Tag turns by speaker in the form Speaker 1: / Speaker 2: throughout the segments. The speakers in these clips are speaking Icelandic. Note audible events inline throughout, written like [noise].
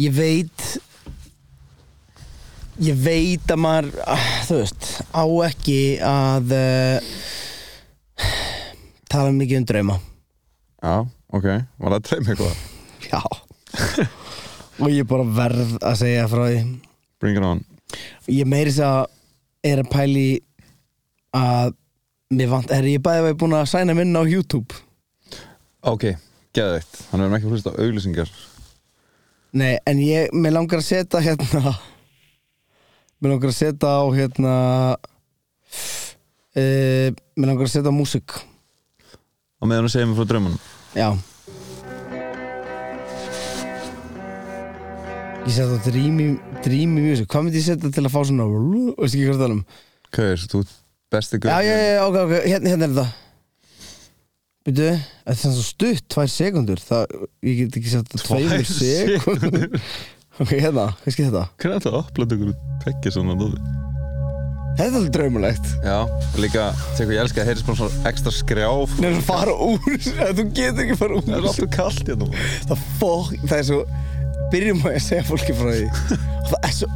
Speaker 1: ég veit ég veit að maður ah, þú veist, á ekki að uh, tala mikið um drauma
Speaker 2: Já, ok, var það dreym eitthvað?
Speaker 1: já [laughs] og ég bara verð að segja frá því
Speaker 2: Bring it on
Speaker 1: ég meiri þess að er að pæli að mér vant, er ég bæði að búin að sæna minn á YouTube
Speaker 2: Ok, geðveitt, hann verðum ekki að hlusta á auglýsingar
Speaker 1: Nei, en ég, mér langar að setja hérna [laughs] Mér langar að setja á hérna uh, Mér langar að setja á músík
Speaker 2: á meðan að segja mér frá draumanum
Speaker 1: Já Ég setja á Dreamy, Dreamy Music Hvað myndi ég setja til að fá svona Veistu ekki hvað það um?
Speaker 2: Kaur, þú ert besti
Speaker 1: Já,
Speaker 2: gaur
Speaker 1: já, já, ok, ok, hérna, hérna er þetta Býtu, þetta er svo stutt, tvær sekundur Það, ég get ekki sett tveimur sekundur [laughs] Ok, hérna, hvað skil þetta?
Speaker 2: Hvernig er þetta að upplata ykkur tekja svona dóti?
Speaker 1: Þetta er alveg draumulegt
Speaker 2: Já, líka, sé hvað ég elska, heyrðis bara svona ekstra skrjáf
Speaker 1: Nei, þú fara úr þessu, þú getur ekki fara úr
Speaker 2: Það er
Speaker 1: þessu.
Speaker 2: alltaf kallt hérna maður.
Speaker 1: Það fokk, það er svo Byrjum að ég segja fólki frá því Og Það er svo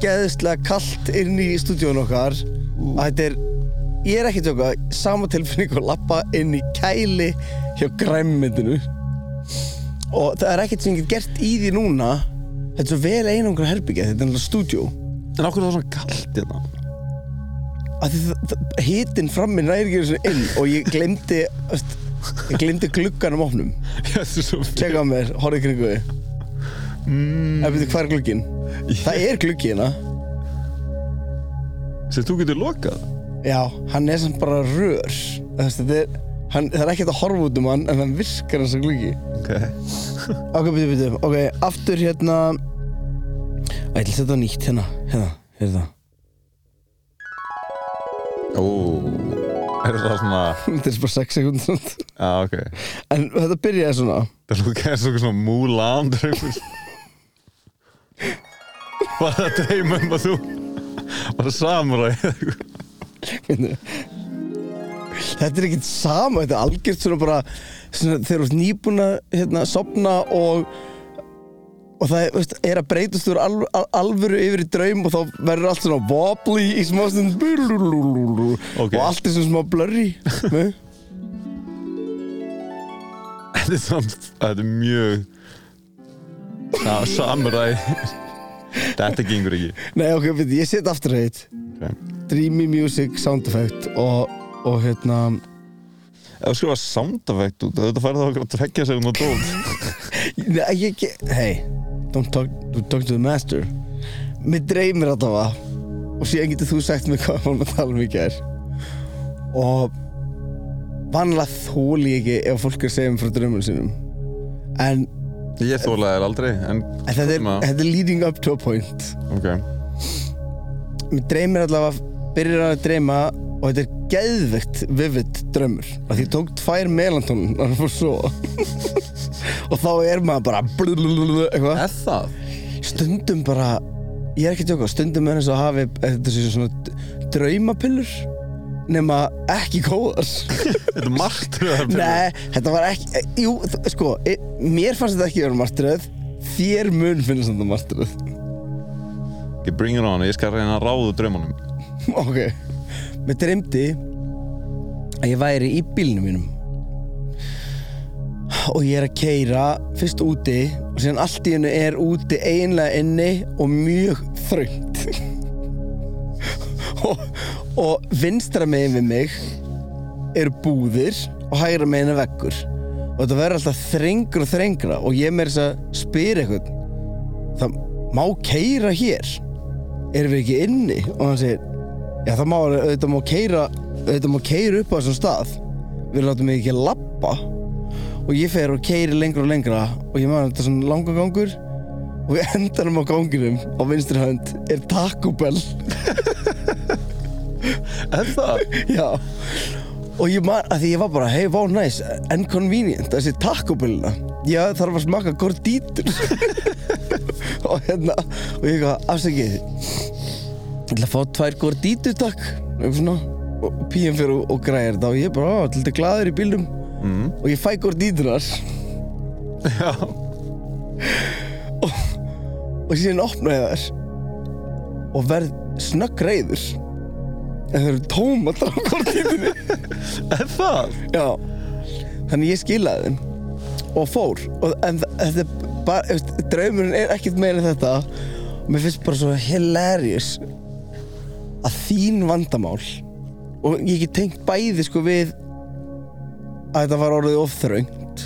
Speaker 1: ógeðslega kallt inn í stúdíun okkar Að þetta er Ég er ekki að tjóka, sama tilfinning og lappa inn í kæli hjá græmmyndinu Og það er ekkert sem ég get gert í því núna Þetta er svo vel einangra herbyggja, þetta er náttúrulega stúdíó
Speaker 2: En okkur er það svona kallt hérna
Speaker 1: að því það- það- hitinn frammi næri ekki þessu inn og ég glemdi öst, ég glemdi glugganum opnum
Speaker 2: [laughs] Þetta er svo fyrir
Speaker 1: tjekka á mér, horfði kringu því mm. eða byrju hvað er glugginn? það er gluggi hérna
Speaker 2: Sem þú getur lokað
Speaker 1: já, hann er samt bara rör Þess, þetta er, hann, það er ekkert að horfa út um hann en hann virkar hans að gluggi
Speaker 2: Ok
Speaker 1: ok, byrju, byrju, ok, aftur hérna og ég ætla að setja á nýtt hérna, hérna, hérna [laughs]
Speaker 2: Ó, er það svona,
Speaker 1: þetta er bara 6 sekund en
Speaker 2: já ok Það
Speaker 1: þetta byrjaði svona
Speaker 2: [laughs] lókaði eins og eitthvað svona Mulan draumur Var það dreymum að þú Var það samuræði eða eitthvað
Speaker 1: Bíddu. Þetta er ekkert sama, þetta er algjört svona bara svona, þegar þú ert nýbúin að hérna, sopna og og það er, veist, er að breytast úr al, al, alvöru yfir í draum og þá verður allt svona wobbly í smá stund
Speaker 2: Ok.
Speaker 1: og allt er svona smá blurry Nei?
Speaker 2: [laughs] Þetta er samt, þetta er mjög Já, samuræði Þetta gengur ekki
Speaker 1: Nei, ok, veit, ég set aftur heit
Speaker 2: okay.
Speaker 1: Dreamy Music Sound Effect og, og hérna
Speaker 2: Ef þú skrifa sound effect út, þetta færði það okkur að trekja sig um og dót
Speaker 1: Nei, ég ekki Hey, don't talk, don't talk to the master Mér dreymir þetta va Og síðan getur þú sagt mér hvað hún að tala um í gær Og Vanlega þóli ég ekki Ef fólk er að segja mér frá draumunum sínum En,
Speaker 2: Ég þóla þér aldrei,
Speaker 1: en
Speaker 2: en
Speaker 1: þetta, er,
Speaker 2: Svona.
Speaker 1: þetta er leading up to a point
Speaker 2: ok
Speaker 1: Mér dreymir allavega Byrjar að dreyma Og þetta er geðvegt vivid draumur Af Því ég tók tvær melantónin Þannig að fór svo [laughs] Og þá er maður bara blulululu, Eitthvað
Speaker 2: Er það?
Speaker 1: stundum bara ég er ekki að tjóka, stundum er eins og hafi þetta séu svona d- draumapillur nema ekki góðar
Speaker 2: Þetta er martröðar
Speaker 1: Nei, þetta var ekki eh, Jú, þ- sko, eh, mér fannst þetta ekki vera martröð þér mun finnst þetta martröð
Speaker 2: Ég bring it on, ég skal reyna að ráðu draumunum
Speaker 1: [laughs] Ok Mér dreymdi að ég væri í bílnum mínum og ég er að keira fyrst úti og síðan allt í hennu er úti eiginlega inni og mjög þröngt [laughs] og, og vinstra megin við mig eru búðir og hægra megin er veggur og þetta verður alltaf þrengra og þrengra og ég meir þess að segja spyr eitthvað það má keira hér erum við ekki inni og hann segir já það má alveg- auðvitað má keira auðvitað má keira upp á þessum stað við látum ekki lappa og ég fer og keiri lengra og lengra og ég maður þetta er svona langa gangur og við [laughs] endanum á ganginum á vinstri hönd er Taco Bell
Speaker 2: [laughs] Er það?
Speaker 1: já og ég maður að því ég var bara hey wow nice and convenient þessi Taco Bellina já þarf að smaka
Speaker 2: [laughs]
Speaker 1: gordítur [laughs] og hérna og ég eitthvað afsakið ég ætla að fá tvær gordítur takk og svona og píum fyrir og, og græðir þetta og ég bara "Ó, þetta er glaður í bílnum
Speaker 2: Mm.
Speaker 1: og ég fæ gordítunar
Speaker 2: Já
Speaker 1: og síðan opna ég þær og verð snögg reyður en þau eru tóma drafkortíðinni
Speaker 2: Er það?
Speaker 1: já þannig ég skilaði þeim og fór og, en þa- þetta er bara, þú veist, draumurinn er ekkert meira en þetta og mér finnst bara svo hilarious að þín vandamál og ég get tengt bæði sko við að þetta var orðið of þröngt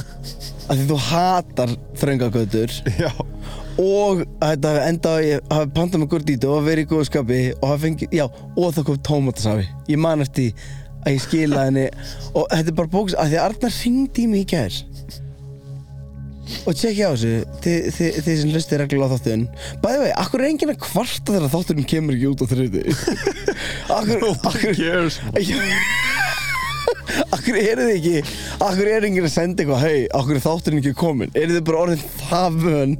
Speaker 1: að því þú hatar þröngagötur
Speaker 2: Já
Speaker 1: og að þetta hafi endað að ég hafi pantað með gordítu og verið í góðu skapi og hafi fengið, já, og það kom tómatasafi ég man eftir því að ég skilaði henni og þetta er bara bóks að því að Arnar ringdi í mig í gær og tjekkja á þessu þið, þið, þið sem lustir reglulega á þáttuðin bæði vegi, akkur er enginn að kvarta þegar þátturinn kemur ekki út á þriði akkur,
Speaker 2: Who
Speaker 1: akkur
Speaker 2: cares?
Speaker 1: Akkur eru þið ekki Akkur eru enginn að senda eitthvað Hei, akkur er þátturinn ekki komin Eru þið bara orðin það vön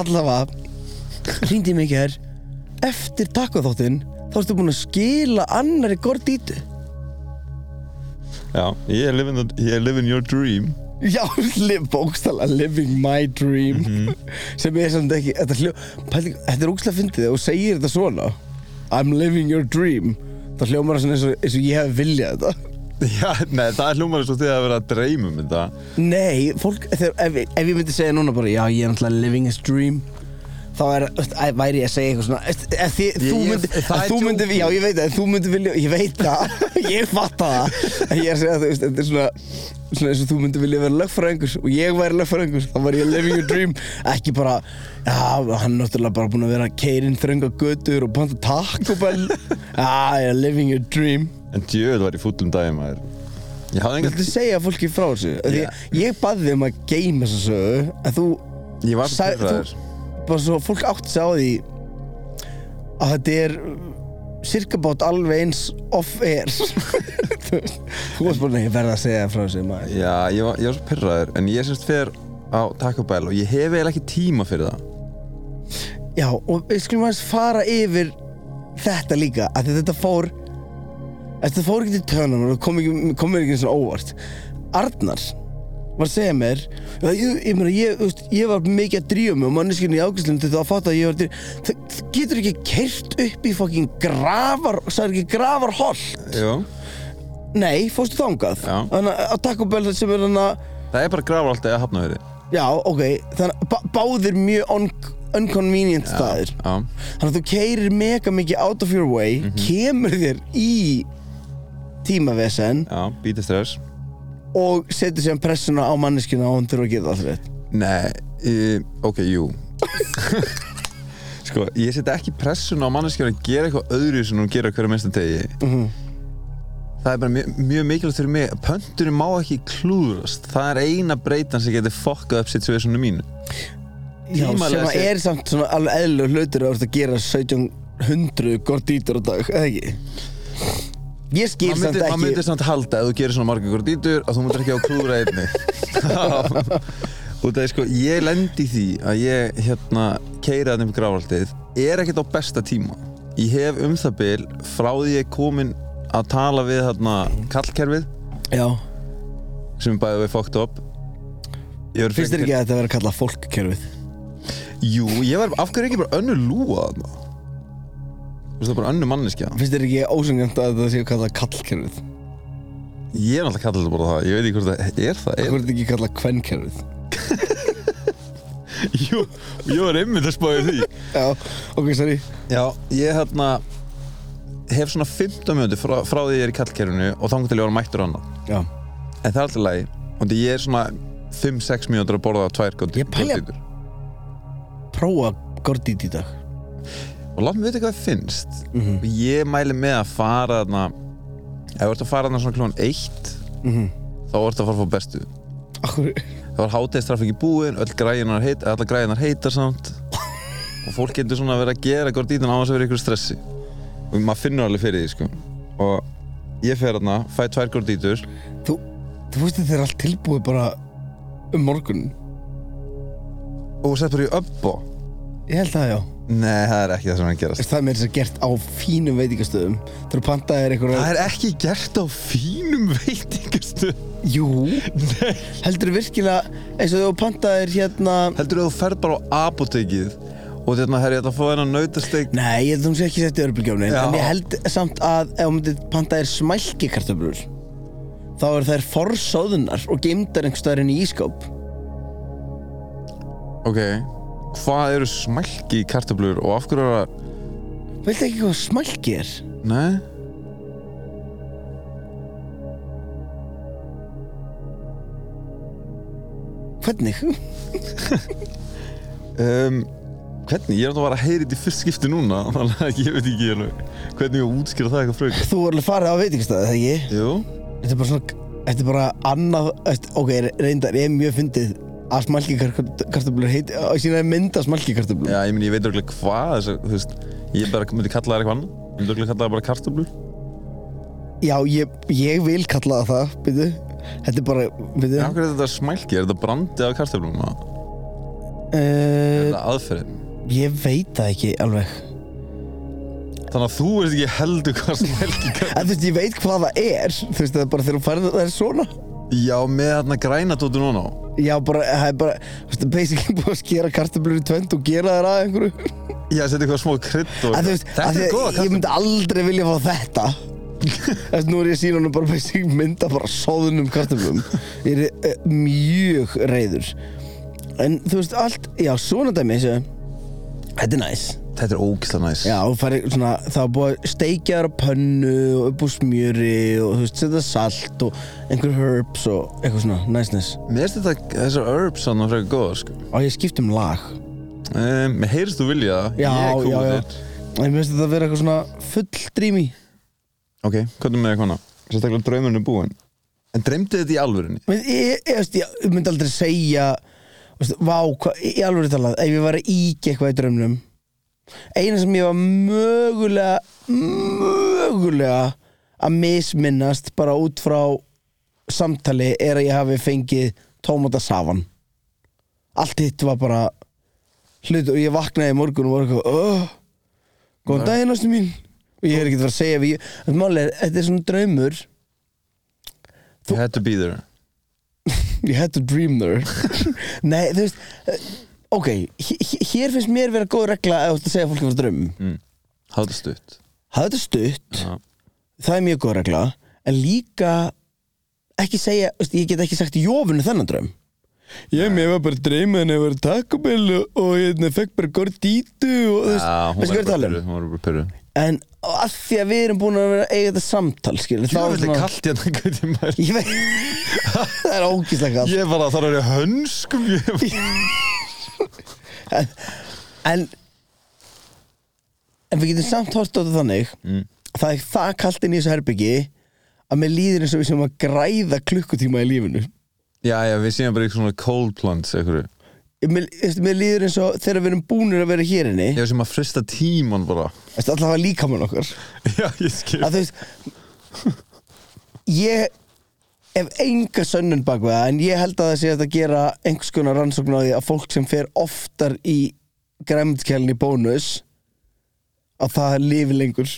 Speaker 1: Allavega Hringdi mig ekki þær Eftir takkaþáttinn Þá ertu búin að skila annari gordítu
Speaker 2: Já, ég er living, the, ég er living your dream
Speaker 1: Já, li- bókstaflega Living my dream Sem er samt ekki Þetta, hljó, pæling, þetta er úkslega fyndið Þegar þú segir þetta svona I'm living your dream Það hljómar það svona eins og, eins og ég hef viljað þetta
Speaker 2: [laughs] Já, nei, það er hljómar eins og þið að vera að dreyma um þetta
Speaker 1: Nei, fólk, þegar, ef, ef ég myndi segja núna bara Já, ég er náttúrulega living his dream Þá er, veist, æ, væri ég að segja eitthvað svona veist, ef þið,
Speaker 2: Ég-
Speaker 1: Þú
Speaker 2: ég-
Speaker 1: myndi,
Speaker 2: það
Speaker 1: að
Speaker 2: er
Speaker 1: þú myndi
Speaker 2: djókið.
Speaker 1: Já, ég veit það, en þú myndi vilja Ég veit það, [laughs] ég fatta það En ég er að segja það, veist, þetta er svona Svona eins og þú myndi vilja vera lögfræðingur Og ég væri lögfræðingur, þá væri ég living your dream Ekki bara, já, hann er náttúrulega bara búinn að vera keirinn þrönga götur Og panta taco
Speaker 2: [laughs]
Speaker 1: bell Já, ég er living your dream
Speaker 2: En djöð var ég fúllum daginn maður Ég hafði
Speaker 1: Viltu
Speaker 2: engan
Speaker 1: segja fólki frá þessu? Því
Speaker 2: Já.
Speaker 1: ég baði þig um að geyma þessa sögu En þú,
Speaker 2: Ég var svo
Speaker 1: Sæ-
Speaker 2: pyrraður
Speaker 1: bara svo fólk átti sig á því Að þetta er Sirkabátt alveg eins Off air [laughs] Þú veist, þú varst bara, nei, ég verð að segja frá þessu maður
Speaker 2: Já, ég var, ég var svo pyrraður En ég semst fer á Taco Bell Og ég hef eiginlega ekki tíma fyrir það
Speaker 1: Já, og við skulum aðeins fara yfir Þetta líka, að þetta fór Þetta fór ekki til tönum Og kom, ekki- kom mér ekki svona óvart Arnar var að segja mér að ég, ég, meina, ég, þú veist, ég var mikið að drífa mig og manneskinu í ágæslunum til það að fatta að ég var að drífa það, það getur ekki kert upp í fokkin gravar sagði ekki gravar
Speaker 2: Jú
Speaker 1: nei, fórstu þangað
Speaker 2: Já.
Speaker 1: þannig að Taco Bell sem er hann að
Speaker 2: Það er bara grafa alltaf að hafna fyrir
Speaker 1: já, ok, þannig að bá- báðir mjög un unconvenient staðir
Speaker 2: Já
Speaker 1: þannig að þú keirir mega mikið out of your way
Speaker 2: Mhm.
Speaker 1: kemur þér í tímavesen
Speaker 2: Já, bítið stress
Speaker 1: og setur sér pressuna á manneskina og hún þurfa að geta allt rétt
Speaker 2: Nei, e, ok, jú Sko, ég setja ekki pressun á manneskjörn að gera eitthvað öðru sem hún gerir á hverju minnsta tegi Það er bara mjög, mjög mikilvægt fyrir mig Pönturinn má ekki klúðrast Það er eina breytan sem getur fokkað upp situationu mínu
Speaker 1: Já, sem
Speaker 2: Tímalega
Speaker 1: að
Speaker 2: séð.
Speaker 1: er samt svona alveg eðlur hlutur að þú ert að gera 1700 gordítur á dag, eða ekki? Ég skil
Speaker 2: Maður
Speaker 1: samt
Speaker 2: myndi, maður myndi
Speaker 1: ekki
Speaker 2: samt halda ef þú gerir svona margar gordítur að þú myndir ekki á klúðra einni [laughs] Út af því, sko, ég lendi í því að ég hérna keira þannig upp gráfaldið er ekkert á besta tíma Ég hef um það bil frá því ég er komin að tala við hérna kallkerfið
Speaker 1: Já,
Speaker 2: sem er bæðið við fókt upp
Speaker 1: finnst þér ekki að þetta verið að kalla fólkkerfið?
Speaker 2: Jú, ég var, af hverju er ekki bara önnur lúa þarna? Þú veist það er bara önnur manneskja
Speaker 1: Finnst þér ekki ósengjant að þetta sé að kalla kallkerfið?
Speaker 2: Ég er náttúrulega kallið bara það, ég veit ekki hvort það er það
Speaker 1: Hvað er þetta ekki að kalla kvennkerfið?
Speaker 2: Jú, ég var einmitt að spáði því
Speaker 1: Já, ok, sorry
Speaker 2: Já, ég hérna hef svona 15 minúti frá, frá því ég er í kallkerfinu og þangar til ég var mættur annað
Speaker 1: Já
Speaker 2: en það er alltaf lagi og því ég er svona 5-6 mínútur að borða tvær
Speaker 1: Ég pæli að-
Speaker 2: gottítur
Speaker 1: Prófa gordít í dag
Speaker 2: og látum við vita hvað það finnst
Speaker 1: Mhm.
Speaker 2: og ég mæli með að fara þarna ef þú ert að fara þarna svona klón 1
Speaker 1: Mhm.
Speaker 2: þá ertu að fara að fá bestu
Speaker 1: Akkur
Speaker 2: það var hátegistrafik í búin, öll græjunar heit, alla græjunar heitar samt og fólk getur svona að vera að gera gordítun á þess að vera ykkur stressi og maður finnur alveg fyrir því sko og ég fer hérna, fæ tvær gordítur
Speaker 1: Þú, þú veist að þið er allt tilbúið bara um morgun
Speaker 2: og sett bara í uppbó
Speaker 1: Ég held það, já.
Speaker 2: Nei, það er ekki það sem er að
Speaker 1: Veist,
Speaker 2: gerast
Speaker 1: Það er með þess að gert á fínum veitingastöðum. Þú pantaði þér einhverja...
Speaker 2: Það er ekki gert á fínum veitingastu
Speaker 1: Jú. Heldur virkilega eins og þú pantaði þér hérna...
Speaker 2: Heldur þú ferð bara á apotekið og þérna herri, ég ætla að fá þennan nautasteik
Speaker 1: Nei, ég held að hún sé ekki sett í örbulgjónin,
Speaker 2: Já.
Speaker 1: en ég held samt að ef hún myndi pantaði þér smælkikartöflur, þá eru þær forsóðunar og geimdar einhverstaðar inn í ískáp.
Speaker 2: Ok, hvað eru smælki í kartöflur og af hverju er það
Speaker 1: Veilt ekki hvað smælki er?
Speaker 2: Nei
Speaker 1: Hvernig?
Speaker 2: um, Hvernig? Ég er náttúrulega bara að heyra þetta í fyrst skipti núna [laughs] þannig að ég veit ekki alveg hvernig ég á að útskýra það eitthvað frökk
Speaker 1: Þú voru alveg farið á veitingastæði, þegar ég?
Speaker 2: Jú
Speaker 1: Þetta er bara svona, þetta er bara annað, þetta- ok, reyndar, ég er mjög fyndið að smælkikartöflur heiti, að sína mynda smælkikartöflur.
Speaker 2: Já, ég meni, ég veit örgulega hvað þess að, þú veist ég bara myndi kalla það eitthvað annað ég myndi örgulega kalla það bara kartöflur
Speaker 1: Já, ég, ég vil kalla það það, byrju. Þetta er bara, byrju.
Speaker 2: En af hverju er þetta smælki? Er þetta brandi af kartöflum? eða? Er
Speaker 1: Uh,
Speaker 2: þetta aðferðin?
Speaker 1: ég veit það ekki alveg.
Speaker 2: Þannig að þú veist ekki heldur hvað smælki kartöflur
Speaker 1: En þú veist, ég veit hvað það er, þú veist, það er bara þegar þú færði það er svona.
Speaker 2: [laughs] Já, með þarna græna tóttu núna á
Speaker 1: Já, bara, það er bara, þú veist, basically búið að skera kartöflur í tvönd og gera þær að einhverju.
Speaker 2: Já, setja eitthvað smá krydd og
Speaker 1: En þú veist,
Speaker 2: Þetta
Speaker 1: af því
Speaker 2: er
Speaker 1: að Ég
Speaker 2: góða kartöflur
Speaker 1: myndi aldrei vilja fá þetta Þess nú er ég að sína honum bara basic mynda bara sóðunum kartöflum Ég er eh, mjög reyður En þú veist, allt, já, svona dæmi þessu Þetta er næs
Speaker 2: Þetta er ógislega næs
Speaker 1: Já, þú færi svona, það er búið að steikja þær á pönnu og upp úr smjöri og þú veist, setja salt og einhver herbs og eitthvað svona, næsnes
Speaker 2: Mér finnst þetta, þessar herbs hann að frekar góða, sko
Speaker 1: Og ég skipt um lag
Speaker 2: um, Mér heyrst þú vilja það
Speaker 1: Já,
Speaker 2: Ég er cool
Speaker 1: já,
Speaker 2: with
Speaker 1: já
Speaker 2: it.
Speaker 1: En mér finnst þetta að vera eitthvað svona full drými
Speaker 2: Ok, hvað er með eitthvað annað? Sérstaklega draumurinn er búinn En dreymdi þetta í alvörinni?
Speaker 1: Men ég, ég, veist, ég, ég myndi aldrei segja veist, Vá, hva, ég alveg talað Ef ég var að íkja eitthvað í draumnum Eina sem ég var mögulega Mögulega Að misminnast bara út frá Samtali er að ég hafi fengið Tómata safan Allt hitt var bara Hlut og ég vaknaði í morgun og var eitthvað "Ugh, Góðan daginn ástu mín Og ég er ekkert að fara að segja við ég, máli, er, Þetta er svona draumur Þú-
Speaker 2: You had to be there
Speaker 1: You had to dream there [laughs] Nei, þú veist eh, Ok, hé- hé- hér finnst mér vera góð regla ef þú ert að segja fólki frá draumum
Speaker 2: mm. Hátt stutt
Speaker 1: Hafa þetta stutt,
Speaker 2: Já.
Speaker 1: það er mjög góð regla en líka ekki segja, þú veist, ég get ekki sagt jófunu þennan draum Ég mér var bara dreyma en ég var takkabell og ég fekk bara gordítu og þú veist,
Speaker 2: Já, hún
Speaker 1: veistu hvað ég
Speaker 2: var bara
Speaker 1: tala
Speaker 2: pyrruð,
Speaker 1: um
Speaker 2: Hún var bara pyrruð
Speaker 1: En að því að við erum búin að vera að eiga þetta samtal, skilur
Speaker 2: Þú veist þetta kallt hérna [laughs] hvernig maður
Speaker 1: [laughs] Ég veit [laughs] Það er ógislega kall
Speaker 2: Ég bara þarf að vera í hönskum ég-
Speaker 1: en en við getum samt hort á þetta þannig
Speaker 2: Mm.
Speaker 1: það er það kalt inn í þessu herbyggi að mér líður eins og við sem að græða klukkutíma í lífinu
Speaker 2: Já, já, við séum bara í svona cold plants einhverju
Speaker 1: mér, þú veist, mér líður eins og þegar við erum búnir að vera hér inni
Speaker 2: Ég sem að frista tíman bara
Speaker 1: veist, allavega líkamann okkar
Speaker 2: Já, ég skil
Speaker 1: að þú veist ég hef enga sönnun bak við það en ég held að það sé hægt að gera einhvers konar rannsókn á því að fólk sem fer oftar í græmdkjælni bónus að það lifi lengur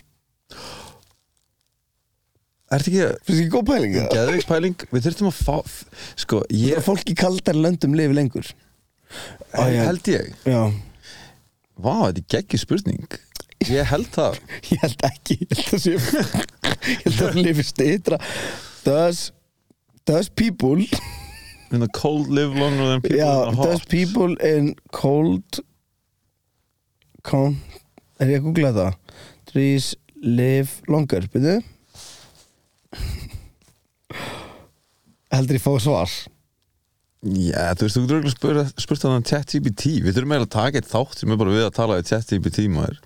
Speaker 2: Ertu ekki að
Speaker 1: Fyrir ekki góð pæling það?
Speaker 2: Geðveiks pæling, við þurftum að fá Sko,
Speaker 1: Ég
Speaker 2: ég
Speaker 1: er fólk í kaldar löndum lifi lengur Á, ég-
Speaker 2: held ég
Speaker 1: Já,
Speaker 2: Vá, þetta er geggjur spurning Ég held það
Speaker 1: [laughs] ég held ekki Ég held að sé [laughs] Ég held að lifi stýtra Does, does people
Speaker 2: In the cold live longer than people
Speaker 1: Já,
Speaker 2: in the hot
Speaker 1: does people in cold con, Er ég að googla það? Trees live longer Byrðu [laughs] Heldur ég fá svar
Speaker 2: Já, þú veist, þú getur örugglega spurt- spurt hann um ChatGPT Við þurfum eiginlega að taka eitt þátt sem er bara við að tala við ChatGPT maður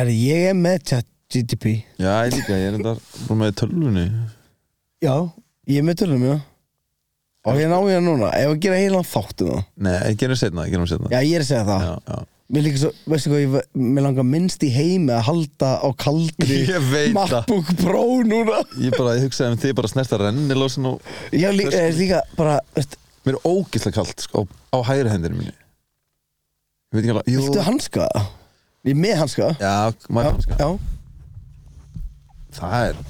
Speaker 1: Er ég er með chat GTP?
Speaker 2: Já, ég líka, ég er enda bara með tölvunni
Speaker 1: Já, ég er með tölum, já Og ég ná ég núna, ef að gera heilan þátt um það
Speaker 2: Nei, ég gerum setna, ég gerum setna
Speaker 1: Já, ég er að segja það
Speaker 2: já, já.
Speaker 1: Mér líka svo, veistu hvað, ég, mér langar minnst í heimi að halda á kaldri
Speaker 2: [laughs] Ég veit það.
Speaker 1: MacBook Pro núna
Speaker 2: Ég bara, ég hugsaði um þið bara snerta rennilósin og
Speaker 1: Já, líka, er líka bara, veist
Speaker 2: mér er ógislega kalt sko, á, á hægri hendinu minni Ég veit ekki alveg, jú
Speaker 1: Viltu hanska? Ég er með hanska
Speaker 2: Já, maður kannski
Speaker 1: já.
Speaker 2: Það er,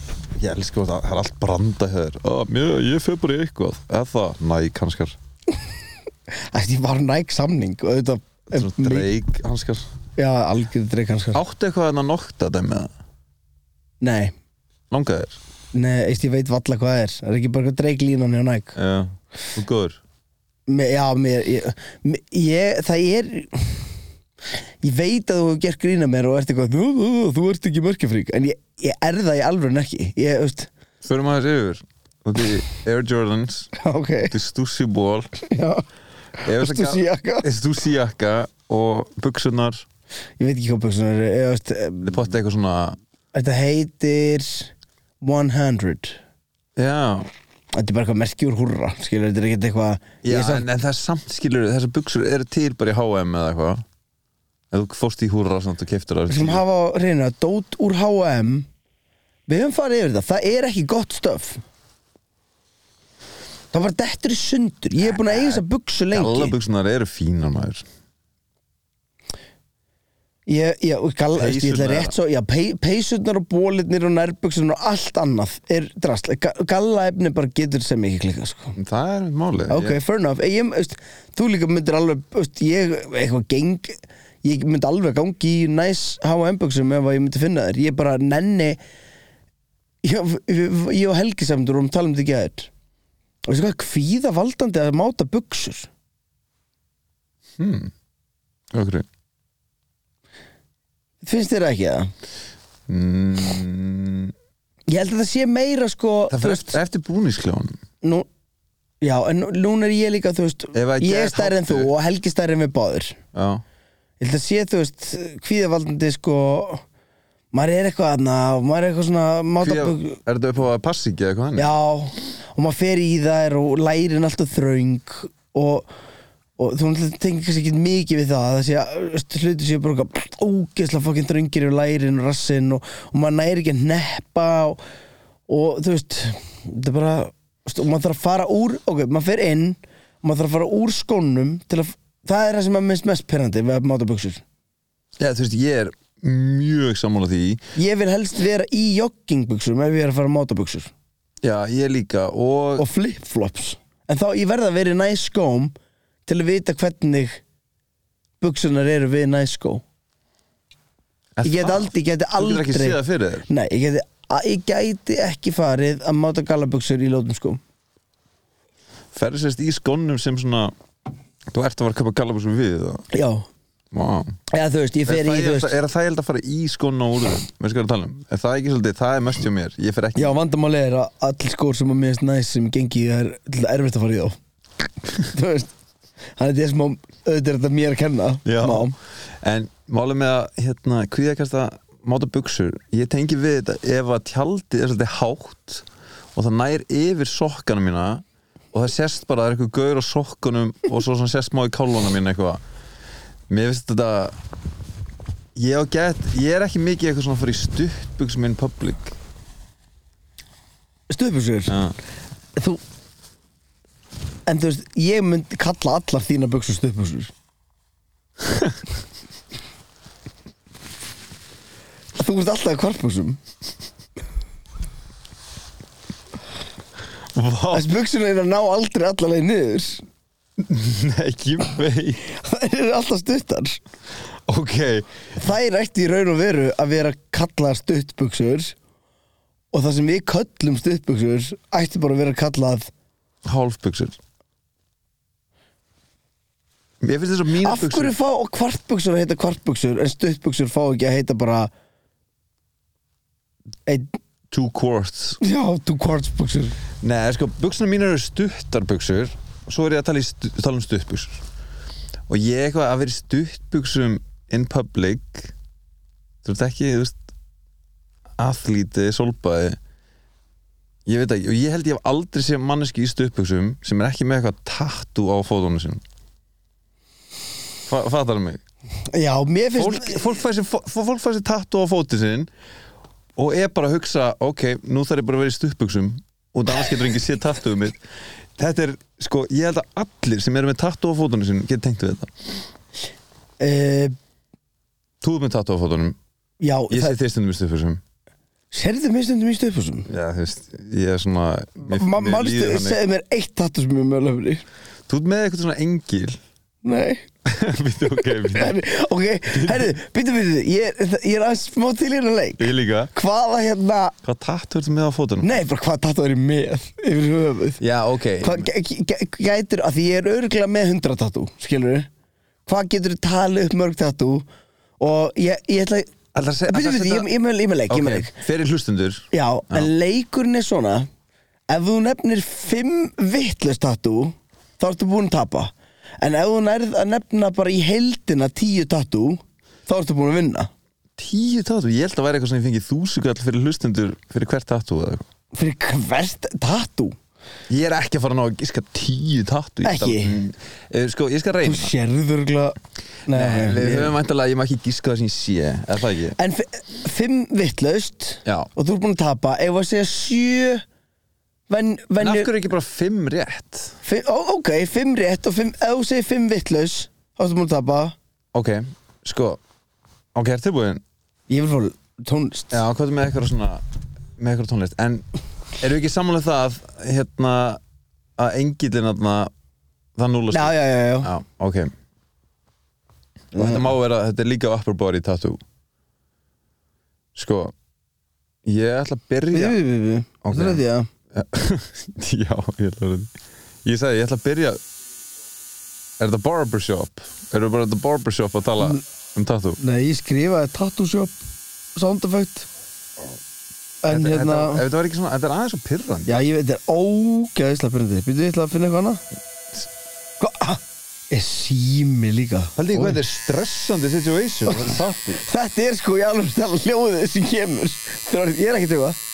Speaker 2: ég elsku það, það er allt branda hér Ó, mér, ég fer bara í eitthvað Eða, næ, kannskar
Speaker 1: Æst, Ég var næg samning og auðvitað,
Speaker 2: Svona
Speaker 1: mi-
Speaker 2: dreik, hanskar
Speaker 1: Já, algjörð dreik hanskar
Speaker 2: Áttu eitthvað en að nokta þeim með það?
Speaker 1: Nei,
Speaker 2: Langaði þér?
Speaker 1: nei, eist, ég veit valla hvað það er Það er ekki bara eitthvað dreiklínan hjá næg
Speaker 2: Já, þú góður
Speaker 1: Me, Já, mér, ég, mér, ég, það er Ég veit að þú hefur gert grína mér og ert eitthvað Þú, þú, þú, þú ert ekki mörkjafrík En ég, ég er það í alveg ekki Ég, veist,
Speaker 2: Förum aðeins yfir Þú ert í Air Jordans
Speaker 1: [laughs] ok
Speaker 2: Þú stússi ból
Speaker 1: Já, veistu síjaka
Speaker 2: Stússi jakka Og buksunar
Speaker 1: Ég veit ekki hvað buksunar eru Ég, veist, em,
Speaker 2: Þið potti eitthvað svona
Speaker 1: Þetta heitir 100
Speaker 2: Já,
Speaker 1: Þetta er bara eitthvað merki úr húrra Skilur, þetta er ekkert eitthvað
Speaker 2: já
Speaker 1: Ég er samt-
Speaker 2: en, en það er samt skilur Þessar buksur eru til bara í H&M eða eitthvað Ef þú fórst í húra samt og keftur
Speaker 1: Við skulum
Speaker 2: það
Speaker 1: hafa á hreinu að dót úr H&M Við höfum farið yfir þetta Það er ekki gott stöf Það var dettur í sundur Ég hef búin að eiga þess að buksu lengi
Speaker 2: Alla buksunar eru fínar maður
Speaker 1: Ég, ég, og gall, ég, ég ætla
Speaker 2: Peysurnar.
Speaker 1: rétt svo Já, pey, peysurnar og bólirnir og nærbuksunar og allt annað er drasl Gallaefni bara getur sem ekki klika sko.
Speaker 2: Það er málið
Speaker 1: Ok,
Speaker 2: Ég-
Speaker 1: fair enough ég, veist, Þú líka myndir alveg veist, ég, eitthvað geng ég myndi alveg gangi í næs H&M buksum ef að ég myndi finna þér ég bara nenni ég, ég- ég og Helgi samdur og um talum þetta ekki að þér og veistu hvað, kvíða valdandi að máta buksur
Speaker 2: Hmm. Okkur
Speaker 1: finnst þér það ekki það?
Speaker 2: mm,
Speaker 1: Ég held að það sé meira sko
Speaker 2: Það
Speaker 1: þú
Speaker 2: fyrir eftir, eftir búnískljónum
Speaker 1: nú, Já, en nú- núna er ég líka, þú veist
Speaker 2: Ef að
Speaker 1: ég
Speaker 2: ég
Speaker 1: er stærri en þú
Speaker 2: hátur-
Speaker 1: og Helgi stærri en við báður
Speaker 2: Já
Speaker 1: Ég held að sé, þú veist, kvíðavaldandi sko maður er eitthvað aðna og maður er eitthvað svona
Speaker 2: Hví að,
Speaker 1: mátabögg
Speaker 2: er þetta upp á að passi ekki eða eitthvað hann?
Speaker 1: Já, og maður fer í þær og lærin alltaf þröng og, og þú náttúrulega tengir kannski ekki mikið við það það sé að þú veist, hlutir séu bara eitthvað ógeðslega fokkin þröngir í lærin og rassinn og, og maður næri ekki að neppa og, og þú veist þetta er bara, þú veist, og maður þarf að fara úr ok, maður fer inn og maður þarf að fara úr skónum til að, það er það sem maður minnst mest perrandi við mátabögsur
Speaker 2: Já, þú veist, ég er mjög sammála því
Speaker 1: Ég vil helst vera í joggingbuksum ef ég er að fara á mátabuksur
Speaker 2: Já, ég líka og,
Speaker 1: og flipflops en þá ég verð að vera í næs skóm til að vita hvernig buksunar eru við næs skó
Speaker 2: Er
Speaker 1: Ég get
Speaker 2: það?
Speaker 1: aldrei, ég geti
Speaker 2: Ah, Þú getur ekki séð
Speaker 1: aldrei
Speaker 2: það fyrir þér
Speaker 1: Nei, ég geti, a- ég gæti ekki farið að máta gallabuksur í sko. lótum skóm
Speaker 2: Ferðu sérst í skónum sem svona Þú ert að fara að köpa gallabuxum við það
Speaker 1: Já,
Speaker 2: Vá
Speaker 1: eða þú veist, ég
Speaker 2: Er
Speaker 1: fer í
Speaker 2: það
Speaker 1: þú
Speaker 2: ég-
Speaker 1: veist
Speaker 2: er það ég held að fara í skóna úr þeim? Veistu hvað ég er að tala um? Er það ekki svolítið, það er mest hjá mér Ég fer ekki
Speaker 1: Já, vandamáli er að all skór sem að minnst næs sem gengi í það er til dæmis erfitt að fara í þá [laughs] Þú veist Þannig að ég smá, auðvitað er þetta mér að kenna
Speaker 2: Já.
Speaker 1: smá.
Speaker 2: En málið með að hérna, kvíðakasta máta buksur Ég tengi við þetta ef að tjaldið er svolítið hátt og það nær yfir sokkana mína og það sést bara að það er eitthvað gaur á sokkunum og svo svona sést má í kálunum mína eitthvað Mér finnst þetta ég, á get, ég er ekki mikið eitthvað svona að fara í stuttbuksum minn public
Speaker 1: Stuðbuxur?
Speaker 2: Já.
Speaker 1: þú en þú veist, ég myndi kalla allar þína buksur stuðbuksur [laughs] þú ert alltaf í kvartbuksum
Speaker 2: Vá,
Speaker 1: þess buksuna er að ná aldrei allarleið niður
Speaker 2: nei, ekki vei
Speaker 1: það eru alltaf stuttar
Speaker 2: Ok,
Speaker 1: þær ætti í raun og veru að vera kallaðar stuttbuksur og það sem við köllum stuttbuksur ætti bara að vera kallað
Speaker 2: hálfbuksur Mér finnst þess að mína
Speaker 1: af hverju fá og kvartbuksur að heita kvartbuksur en stuttbuksur fá ekki að heita bara einn
Speaker 2: Two quarts
Speaker 1: Já, þú kvartsbuksur
Speaker 2: Nei, sko, buksuna mín eru stuttarböksur og svo er ég að tala, í stu, tala um stuttbuksur og ég eitthvað að vera í stuttbuksum in public þú veist ekki, þú veist aðlíti, solbæði ég veit ekki, og ég held ég hef aldrei séð manneski í stuttbuksum sem er ekki með eitthvað tattoo á fótunum sinum Fa, Fattar mig
Speaker 1: Já, mér finnst
Speaker 2: Fólk, fólk fær sér, fó- fólk fær sér tattoo á fótinn sinn og er bara að hugsa ok, nú þarf ég bara að vera í stuttbuxum og annars getur enginn séð tattooðu mitt þetta er, sko, ég held að allir sem eru með tattoo á fótunum sinn getur tengt við þetta
Speaker 1: uh,
Speaker 2: Þú ert með tattóafótunum
Speaker 1: Já,
Speaker 2: Ég
Speaker 1: það,
Speaker 2: sé þér stundum í stufusum
Speaker 1: serðu mér stundum í stöðfúsum
Speaker 2: Já, þú veist, ég er svona mér, mér líður
Speaker 1: Manstu,
Speaker 2: þannig.
Speaker 1: segðu mér eitt tattu sem er með löfni
Speaker 2: Þú ert með eitthvað svona engil [laughs]
Speaker 1: Nei
Speaker 2: Býttu, ok, býttu
Speaker 1: Herri, Ok, herru, býttu, býttu Ég er, ég er aðeins smá til hérna leik
Speaker 2: Ég líka
Speaker 1: Hvaða hérna
Speaker 2: Hvað tattu ertu með á fótunum?
Speaker 1: Nei, bara hvaða tattu er ég með Yfir höfuð
Speaker 2: Já, ok
Speaker 1: Hvað gæ- gæ- gætir, að því ég er örgulega með 100 tattoo, skilur við Hvað getur þú talið upp mörg tattoo Og ég, ég ætla að
Speaker 2: Ætlar að segja
Speaker 1: Býttu, býttu, ég, ég með ég með leik, ég með
Speaker 2: Ok,
Speaker 1: leik
Speaker 2: fyrir hlustundur
Speaker 1: Já, en leikurinn er svona Ef þú nefnir 5 vittlust tattoo Þá ertu búin að tapa En ef þú nærð að nefna bara í heildina 10 tattoo Þá ertu búin að vinna
Speaker 2: Tíu tattu, ég held að væri eitthvað sem ég fengið þúsugall fyrir hlustundur fyrir hvert tattu eða eitthvað
Speaker 1: Fyrir hvert tattoo
Speaker 2: Ég er ekki að fara að ná að giska tíu tattu ég
Speaker 1: Ekki?
Speaker 2: ætla- Eh, Sko, ég skal
Speaker 1: Þú
Speaker 2: reyna
Speaker 1: sérður örgulega
Speaker 2: Nei, Við
Speaker 1: ég-
Speaker 2: höfum væntalega, ég má ekki giska það sem ég sé Er það ekki?
Speaker 1: En fi- fimm vittlaust
Speaker 2: Já.
Speaker 1: Og þú er búin að tapa Ef að segja sjö ven,
Speaker 2: En af
Speaker 1: venju,
Speaker 2: hverju ekki bara fimm rétt?
Speaker 1: fimm, ó, Ok, fimm rétt og fimm, Ef þú segir fimm vittlaust Þá ertu búin að tapa
Speaker 2: Ok, sko Ok, er tilbúin?
Speaker 1: Ég vil fór tónlist
Speaker 2: Já, hvað er með eitthvað svona með eitthvað tónlist, en eru ekki samanlega það að, hérna að engillin þarna það núlast
Speaker 1: já, já, já, já.
Speaker 2: já, ok og þetta má vera, þetta er líka upper body tattoo sko ég ætla að
Speaker 1: Við,
Speaker 2: byrja
Speaker 1: við, við, við.
Speaker 2: Ok.
Speaker 1: Þú ræði það
Speaker 2: [laughs] já, ég ætla að ég sagði, ég ætla að byrja er þetta barbershop? eru bara þetta barbershop að tala um tattoo?
Speaker 1: Nei, ég skrifaði tattoo shop Sound effect En
Speaker 2: Þetta-
Speaker 1: hérna
Speaker 2: þetta, ef þetta var ekki svona, þetta er aðeins og pyrrandi
Speaker 1: Já, ég veit, þetta er ógæðislega byrjandi Býttu, ég ætla að finna eitthvað annað Hvað? Ah, Er sími líka
Speaker 2: Haldi ég
Speaker 1: Ó.
Speaker 2: hvað þetta er stressandi [laughs] situation Þetta er tattoo
Speaker 1: Þetta er sko í alveg stæla hljóðið sem kemur Þegar ég er ekkert eitthvað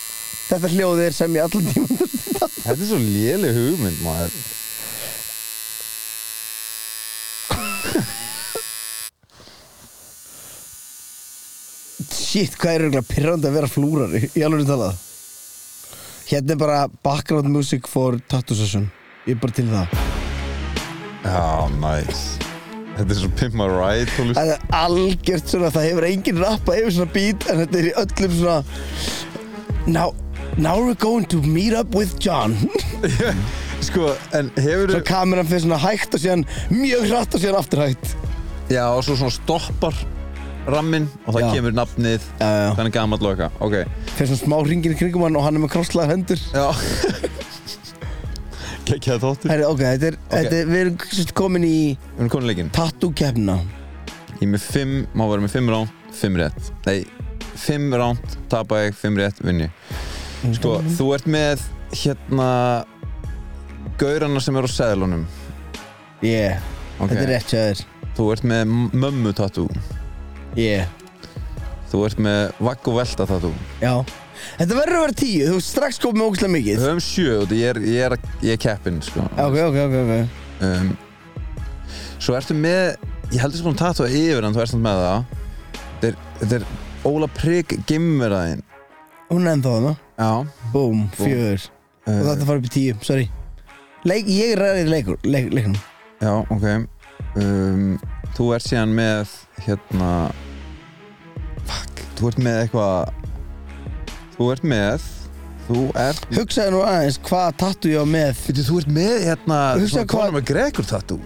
Speaker 1: Þetta hljóðið er sem ég allan tíma
Speaker 2: Þetta er svo léleg hugmynd maður
Speaker 1: Shit, hvað er eiginlega pirrandi að vera flúrari Í alveg talað Hérna er bara background music for tattoo session Ég er bara til í það
Speaker 2: Já, næs Þetta er svo Pimp My Ride tónlist
Speaker 1: Það er algjört svona, það hefur enginn rappa yfir svona beat En þetta er í öllum svona Now, now we're going to meet up with John [laughs]
Speaker 2: [laughs] Sko, en hefur
Speaker 1: Svo kameran fyrir svona hægt og síðan Mjög hratt og síðan aftur hægt
Speaker 2: Já, og svo svona stoppar ramminn og það
Speaker 1: Já.
Speaker 2: kemur nafnið
Speaker 1: Já, já.
Speaker 2: Þannig gammal og eitthvað, ok
Speaker 1: Fyrir svona smá ringin í kringum hann og hann er með krosslaðar hendur
Speaker 2: [laughs] Já Kekjaði þóttur
Speaker 1: Herri, ok, þetta er, þetta er, við erum sérst komin í
Speaker 2: Við erum komin í leikinn
Speaker 1: tattoo-keppna.
Speaker 2: Ég er með fimm, má vera með fimm ránt, fimm rétt Nei, fimm ránt, tapa ég, fimm rétt, vinn ég
Speaker 1: Mm.
Speaker 2: Sko, þú ert með hérna Gaurana sem eru á seðlunum
Speaker 1: Yeah,
Speaker 2: Ok.
Speaker 1: þetta er rétt hjá þér.
Speaker 2: Þú ert með mömmu tattoo
Speaker 1: Yeah,
Speaker 2: Þú ert með vagg og velta tattoo
Speaker 1: já. Þetta verður að vera tíu, þú ert strax komið með ógustlega
Speaker 2: Við
Speaker 1: mikið.
Speaker 2: höfum sjö og ég er, ég er, ég er keppin sko.
Speaker 1: Já, Ok, ok, ok, ok.
Speaker 2: um, Svo ertu með Ég heldur sem búin að tatua yfir en þú ert samt með það Þetta er, þetta er Óla Prygg gimmeraðin
Speaker 1: Hún er ennþá þarna.
Speaker 2: Já
Speaker 1: Búm, fjögur. Og
Speaker 2: uh,
Speaker 1: þetta fara upp í tíu, sorry. Leik, ég er ræðið leikur, leik, leiknum.
Speaker 2: Já, ok um, Þú ert síðan með hérna Fuck, þú ert með eitthvað Þú ert með Þú ert
Speaker 1: Hugsaðu nú aðeins hvað tattoo ég á með.
Speaker 2: Veitu, þú ert með hérna
Speaker 1: Hugsaðu
Speaker 2: svona
Speaker 1: hvað-
Speaker 2: Conor McGregor tattoo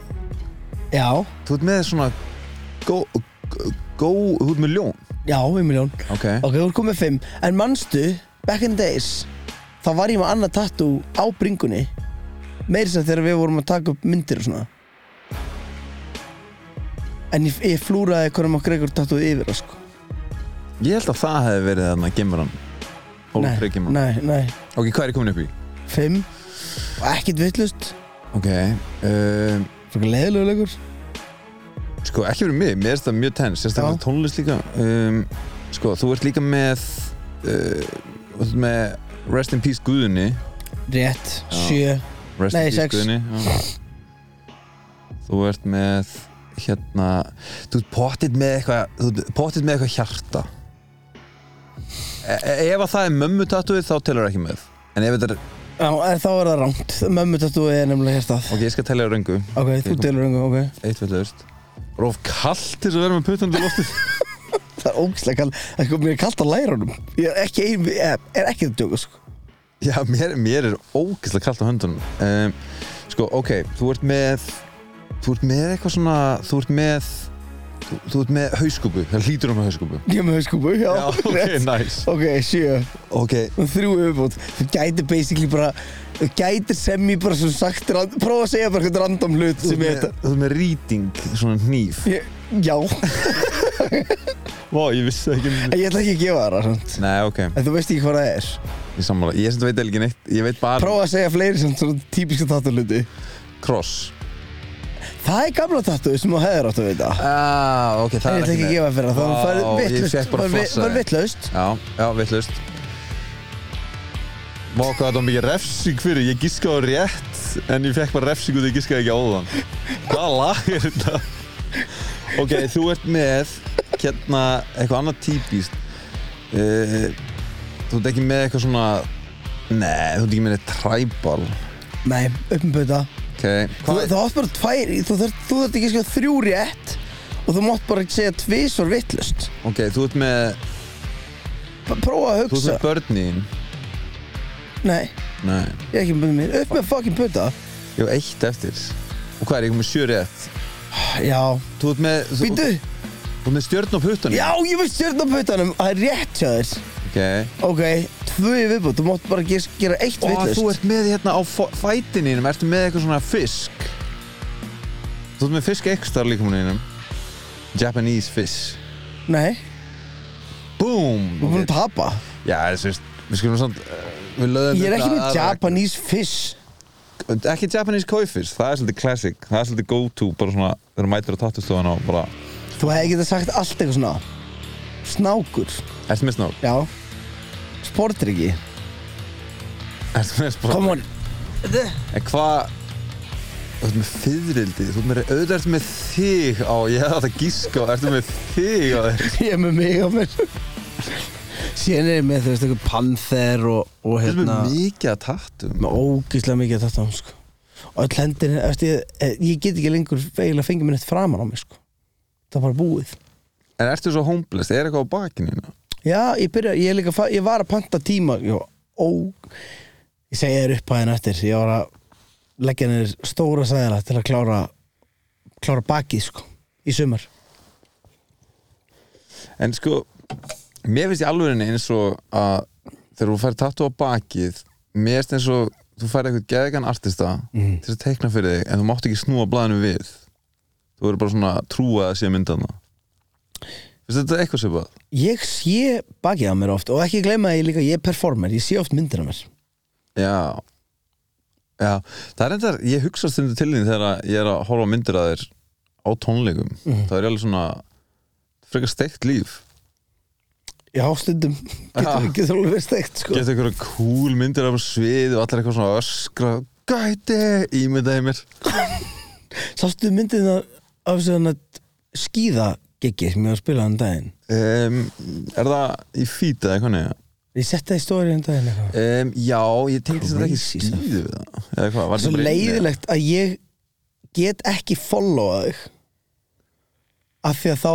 Speaker 1: Já,
Speaker 2: Þú ert með svona Gó, gó, þú ert með ljón
Speaker 1: já, við miljón.
Speaker 2: Ok
Speaker 1: Ok, þú ert komið með fimm. En manstu, back in the days, þá var ég með annað tattoo á bringunni. Meir sem þegar við vorum að taka upp myndir og svona. En ég, ég flúraði hvernig maður Gregor tattoo yfir, það, sko.
Speaker 2: Ég held að það hefði verið þarna gimmaran Hóla priggimann
Speaker 1: nei, nei.
Speaker 2: Ok, hvað er ég komin upp í?
Speaker 1: Fimm. Og ekkert vittlust.
Speaker 2: Ok
Speaker 1: eh,
Speaker 2: um,
Speaker 1: Fyrir leðilegu leikur.
Speaker 2: Sko, ekki fyrir mig, mér er þetta mjög tens Sérstaklega
Speaker 1: Já.
Speaker 2: tónlist líka um, Sko, þú ert líka með uh, Þú ert með Rest in Peace Guðunni
Speaker 1: Rétt.
Speaker 2: Já.
Speaker 1: Sjö.
Speaker 2: Rest
Speaker 1: Nei,
Speaker 2: in Peace
Speaker 1: sex.
Speaker 2: Guðunni já. Þú ert með Hérna Þú ert pottitt með eitthvað Þú ert pottitt með eitthvað hjarta e e- Ef að það er mömmu tattuðið þá telur ekki með En ef þetta er,
Speaker 1: Já, en þá er það rangt. Mömmu tattoo er nefnilega hérstað.
Speaker 2: ok, ég skal telja röngu
Speaker 1: Ok, þú
Speaker 2: Ég kom-
Speaker 1: delur einhver, ok.
Speaker 2: Eitt veld öðust var of kallt til þess að vera með puttandi loftið
Speaker 1: Það er ógislega kall Það er sko, mér er kallt að læra honum Ég er ekki ein, ég er ekki að djóka sko
Speaker 2: [laughs] Já, mér, mér er ógeðslega kallt á höndunum um, Sko, ok, þú ert með Þú ert með eitthvað svona Þú ert með Þú, þú ert með hauskúpu, það hlýtur um með hauskúpu
Speaker 1: Ég er með hauskúpu, já,
Speaker 2: [laughs] Já, ok,
Speaker 1: rétt.
Speaker 2: nice
Speaker 1: Ok, sjö
Speaker 2: Ok,
Speaker 1: og þrjú yfirbútt þú gætir basically bara þú gætir sem ég bara svo sagt ran- prófa að segja bara eitthvað random hlut
Speaker 2: þú ert
Speaker 1: sem ég
Speaker 2: með,
Speaker 1: þetta
Speaker 2: þú ert með rýting, svona hníf
Speaker 1: ég, já, en
Speaker 2: Vá, ég vissi það ekki um
Speaker 1: ég ætla ekki að gefa það samt.
Speaker 2: Nei, ok,
Speaker 1: en þú veist ekki hvað það er
Speaker 2: ég sammála Ég sem þetta veit ekki neitt, ég veit bara
Speaker 1: prófa að segja fleiri samt svona típiska tattúluti
Speaker 2: Cross
Speaker 1: það er gamla tattúi sem þú hefur átt að vita
Speaker 2: ah, ok,
Speaker 1: en ég ætla ekki að gefa fyrir það
Speaker 2: Vá,
Speaker 1: það var
Speaker 2: ég fékk
Speaker 1: vitlaust
Speaker 2: bara
Speaker 1: var vi-
Speaker 2: flassa
Speaker 1: var
Speaker 2: þig.
Speaker 1: vitlaust
Speaker 2: Já, já, vittlust Vá, hvað þetta var mikið refsing fyrir Ég giskaði á rétt En ég fekk bara refsing út Ég giskaði ekki á þann Hvaða lag er þetta? Ok, þú ert með Hérna, eitthvað annað típist uh, Þú ert ekki með eitthvað svona Nei, þú ert ekki með neitt tribal
Speaker 1: nei, upp með bauta
Speaker 2: Ok,
Speaker 1: þú
Speaker 2: hvað
Speaker 1: þú átt bara tvær þú þarft þú þarft ekki að segja þrjú rétt og þú mátt bara segja tvisvar vitlaust
Speaker 2: Ok, þú ert með
Speaker 1: Bara prófa að
Speaker 2: Þú ert
Speaker 1: hugsa
Speaker 2: með börnin
Speaker 1: nei
Speaker 2: Nei,
Speaker 1: Ég er ekki með mér, upp með fucking putta
Speaker 2: ég hef eitt eftir Og hvað er, ég kom með sjö rétt
Speaker 1: Já
Speaker 2: Þú ert með Þú,
Speaker 1: Býtu,
Speaker 2: þú ert með stjörn á puttunum
Speaker 1: já ég veist stjörn á puttanum Það er rétt hjá þér
Speaker 2: Ok
Speaker 1: Ok, tvö í viðbútt, þú mátt bara gera, gera eitt
Speaker 2: Og
Speaker 1: villust
Speaker 2: þú ert með hérna á fætininum, ertu með eitthvað svona fisk Þú ert með fisk ekstra líkumuninum Japanese fish
Speaker 1: Nei,
Speaker 2: Boom!
Speaker 1: þú er búin að tapa
Speaker 2: Já, þessi veist, við skulum samt uh, Við löðum
Speaker 1: Ég er ekki
Speaker 2: aðra-
Speaker 1: með Japanese fish
Speaker 2: Ekki Japanese koi fish, það er svolítið classic Það er svolítið go to, bara svona Þegar mætir á tattustofan og bara
Speaker 1: Þú hefði getað sagt allt eitthvað svona Snákur,
Speaker 2: Ertu með snák?
Speaker 1: já Sportryggi
Speaker 2: Ertu með sport?
Speaker 1: Come on The-
Speaker 2: En hvað Þú ert með fiðrildi, þú ert með auðvitað ertu með þig á, ég hefði þetta gíska á, ertu með þig á þér
Speaker 1: [laughs] Ég er með mig á mér Síðan er ég með, þú veist, eitthvað panther og, og
Speaker 2: Þú ert
Speaker 1: hérna
Speaker 2: með mikið að tattum
Speaker 1: með ógeðslega mikið að þetta á mig sko. og öll hendin ég, ég get ekki lengur eiginlega fengið mér neitt framan á mig sko. það er bara búið
Speaker 2: En ertu svo homeless? Er eitthvað á bakinu? hérna?
Speaker 1: já, ég, byrja, ég, er líka, fa- ég var að panta tíma já, ó, ég segi þér upp aðeins eftir ég var að leggja neður stóra sæðina til að klára klára bakið sko, í sumar
Speaker 2: En sko, mér finnst í alvörinni eins og að þegar þú fær tattu á bakið mér finnst eins og þú fær eitthvað geðgan artista til að teikna fyrir þig en þú mátt ekki snúa blaðinu við þú verður bara svona trúa að sé myndana Finnst þetta eitthvað sem bara
Speaker 1: ég sé bakið á mér oft og ekki gleyma að ég líka, ég er performer ég sé oft myndir á mér
Speaker 2: Já Já, það er endar, ég hugsa stundu til þín þegar að ég er að horfa á myndir að þér á tónleikum það er ég alveg svona frekar steikt líf
Speaker 1: já, stundum, [laughs] getur,
Speaker 2: Ah.
Speaker 1: getur alveg verið steikt sko.
Speaker 2: geta einhverja cool myndir af svið og allir eitthvað svona öskra gæti, ímyndaði mér
Speaker 1: Sástu myndina af þessu hann að skýða geggi sem ég var að spila hann daginn
Speaker 2: um, er það í fýta eða hvernig
Speaker 1: Ég setti það í stóri hann daginn eitthvað
Speaker 2: um, já, ég tengdi þetta ekki
Speaker 1: Crazy stuff.
Speaker 2: skýðu við það eða hvað, var
Speaker 1: Svo
Speaker 2: bara inni?
Speaker 1: leiðilegt að ég get ekki followa þig af því að þá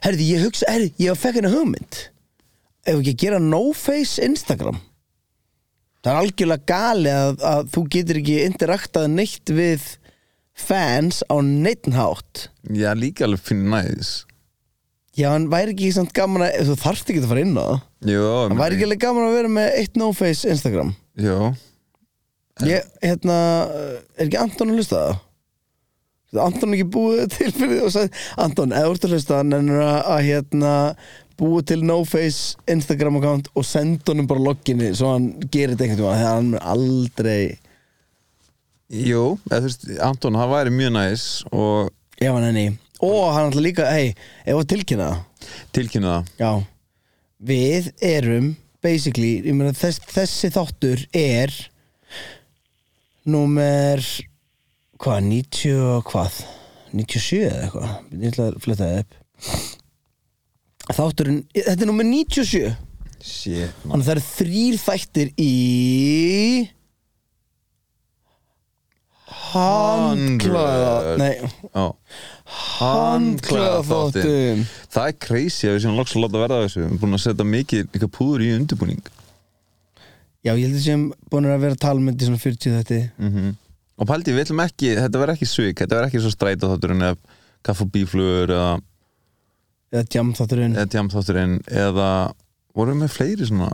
Speaker 1: Herði, ég hugsa, herði, ég fekk henni hugmynd ef ekki að gera no-face Instagram Það er algjörlega gali að, að þú getur ekki interaktað neitt við fans á neittn hátt
Speaker 2: já, líka alveg finn næðis
Speaker 1: Já, en væri ekki samt gaman að þú þarft ekki að fara inn á það
Speaker 2: jú,
Speaker 1: Það væri ekki alveg gaman að vera með eitt no-face Instagram
Speaker 2: jú,
Speaker 1: Ég, hérna, er ekki Anton að hlusta á það? Er Anton ekki búið [laughs] til fyrir því og sagði Anton, eða úrstu að hlusta hann en að, að hérna búið til no-face Instagram account og senda honum bara loginni svo hann gerir þetta einhvern veginn þegar hann mun aldrei
Speaker 2: jú eða, þú veist, Anton, það væri mjög næðis og
Speaker 1: ef hann enni og hann alltaf líka, hei, ef að tilkynna það
Speaker 2: tilkynna það
Speaker 1: Já, við erum basically, ég meina þess, þessi þáttur er númer hvað, 90 og hvað 97 eða eitthvað ég ætla að fletta það upp þátturinn, þetta er númer 97
Speaker 2: shit, man.
Speaker 1: þannig að það eru þrýr þættir í Handklæða Nei,
Speaker 2: Já.
Speaker 1: handklæðaþáttum
Speaker 2: Það er crazy að við séum loks að láta verða af þessu Við erum búin að setja mikið líka púður í undirbúning
Speaker 1: Já, ég heldur sem búin að vera að tala með þetta í svona 40 þetta
Speaker 2: Mhm. Og pældi, við ætlum ekki, þetta verður ekki svik Þetta verður ekki svo stræta þátturinn eða kaff og bíflugur eða,
Speaker 1: Mhm. Eða jam þátturinn
Speaker 2: eða jam þátturinn eða vorum við með fleiri svona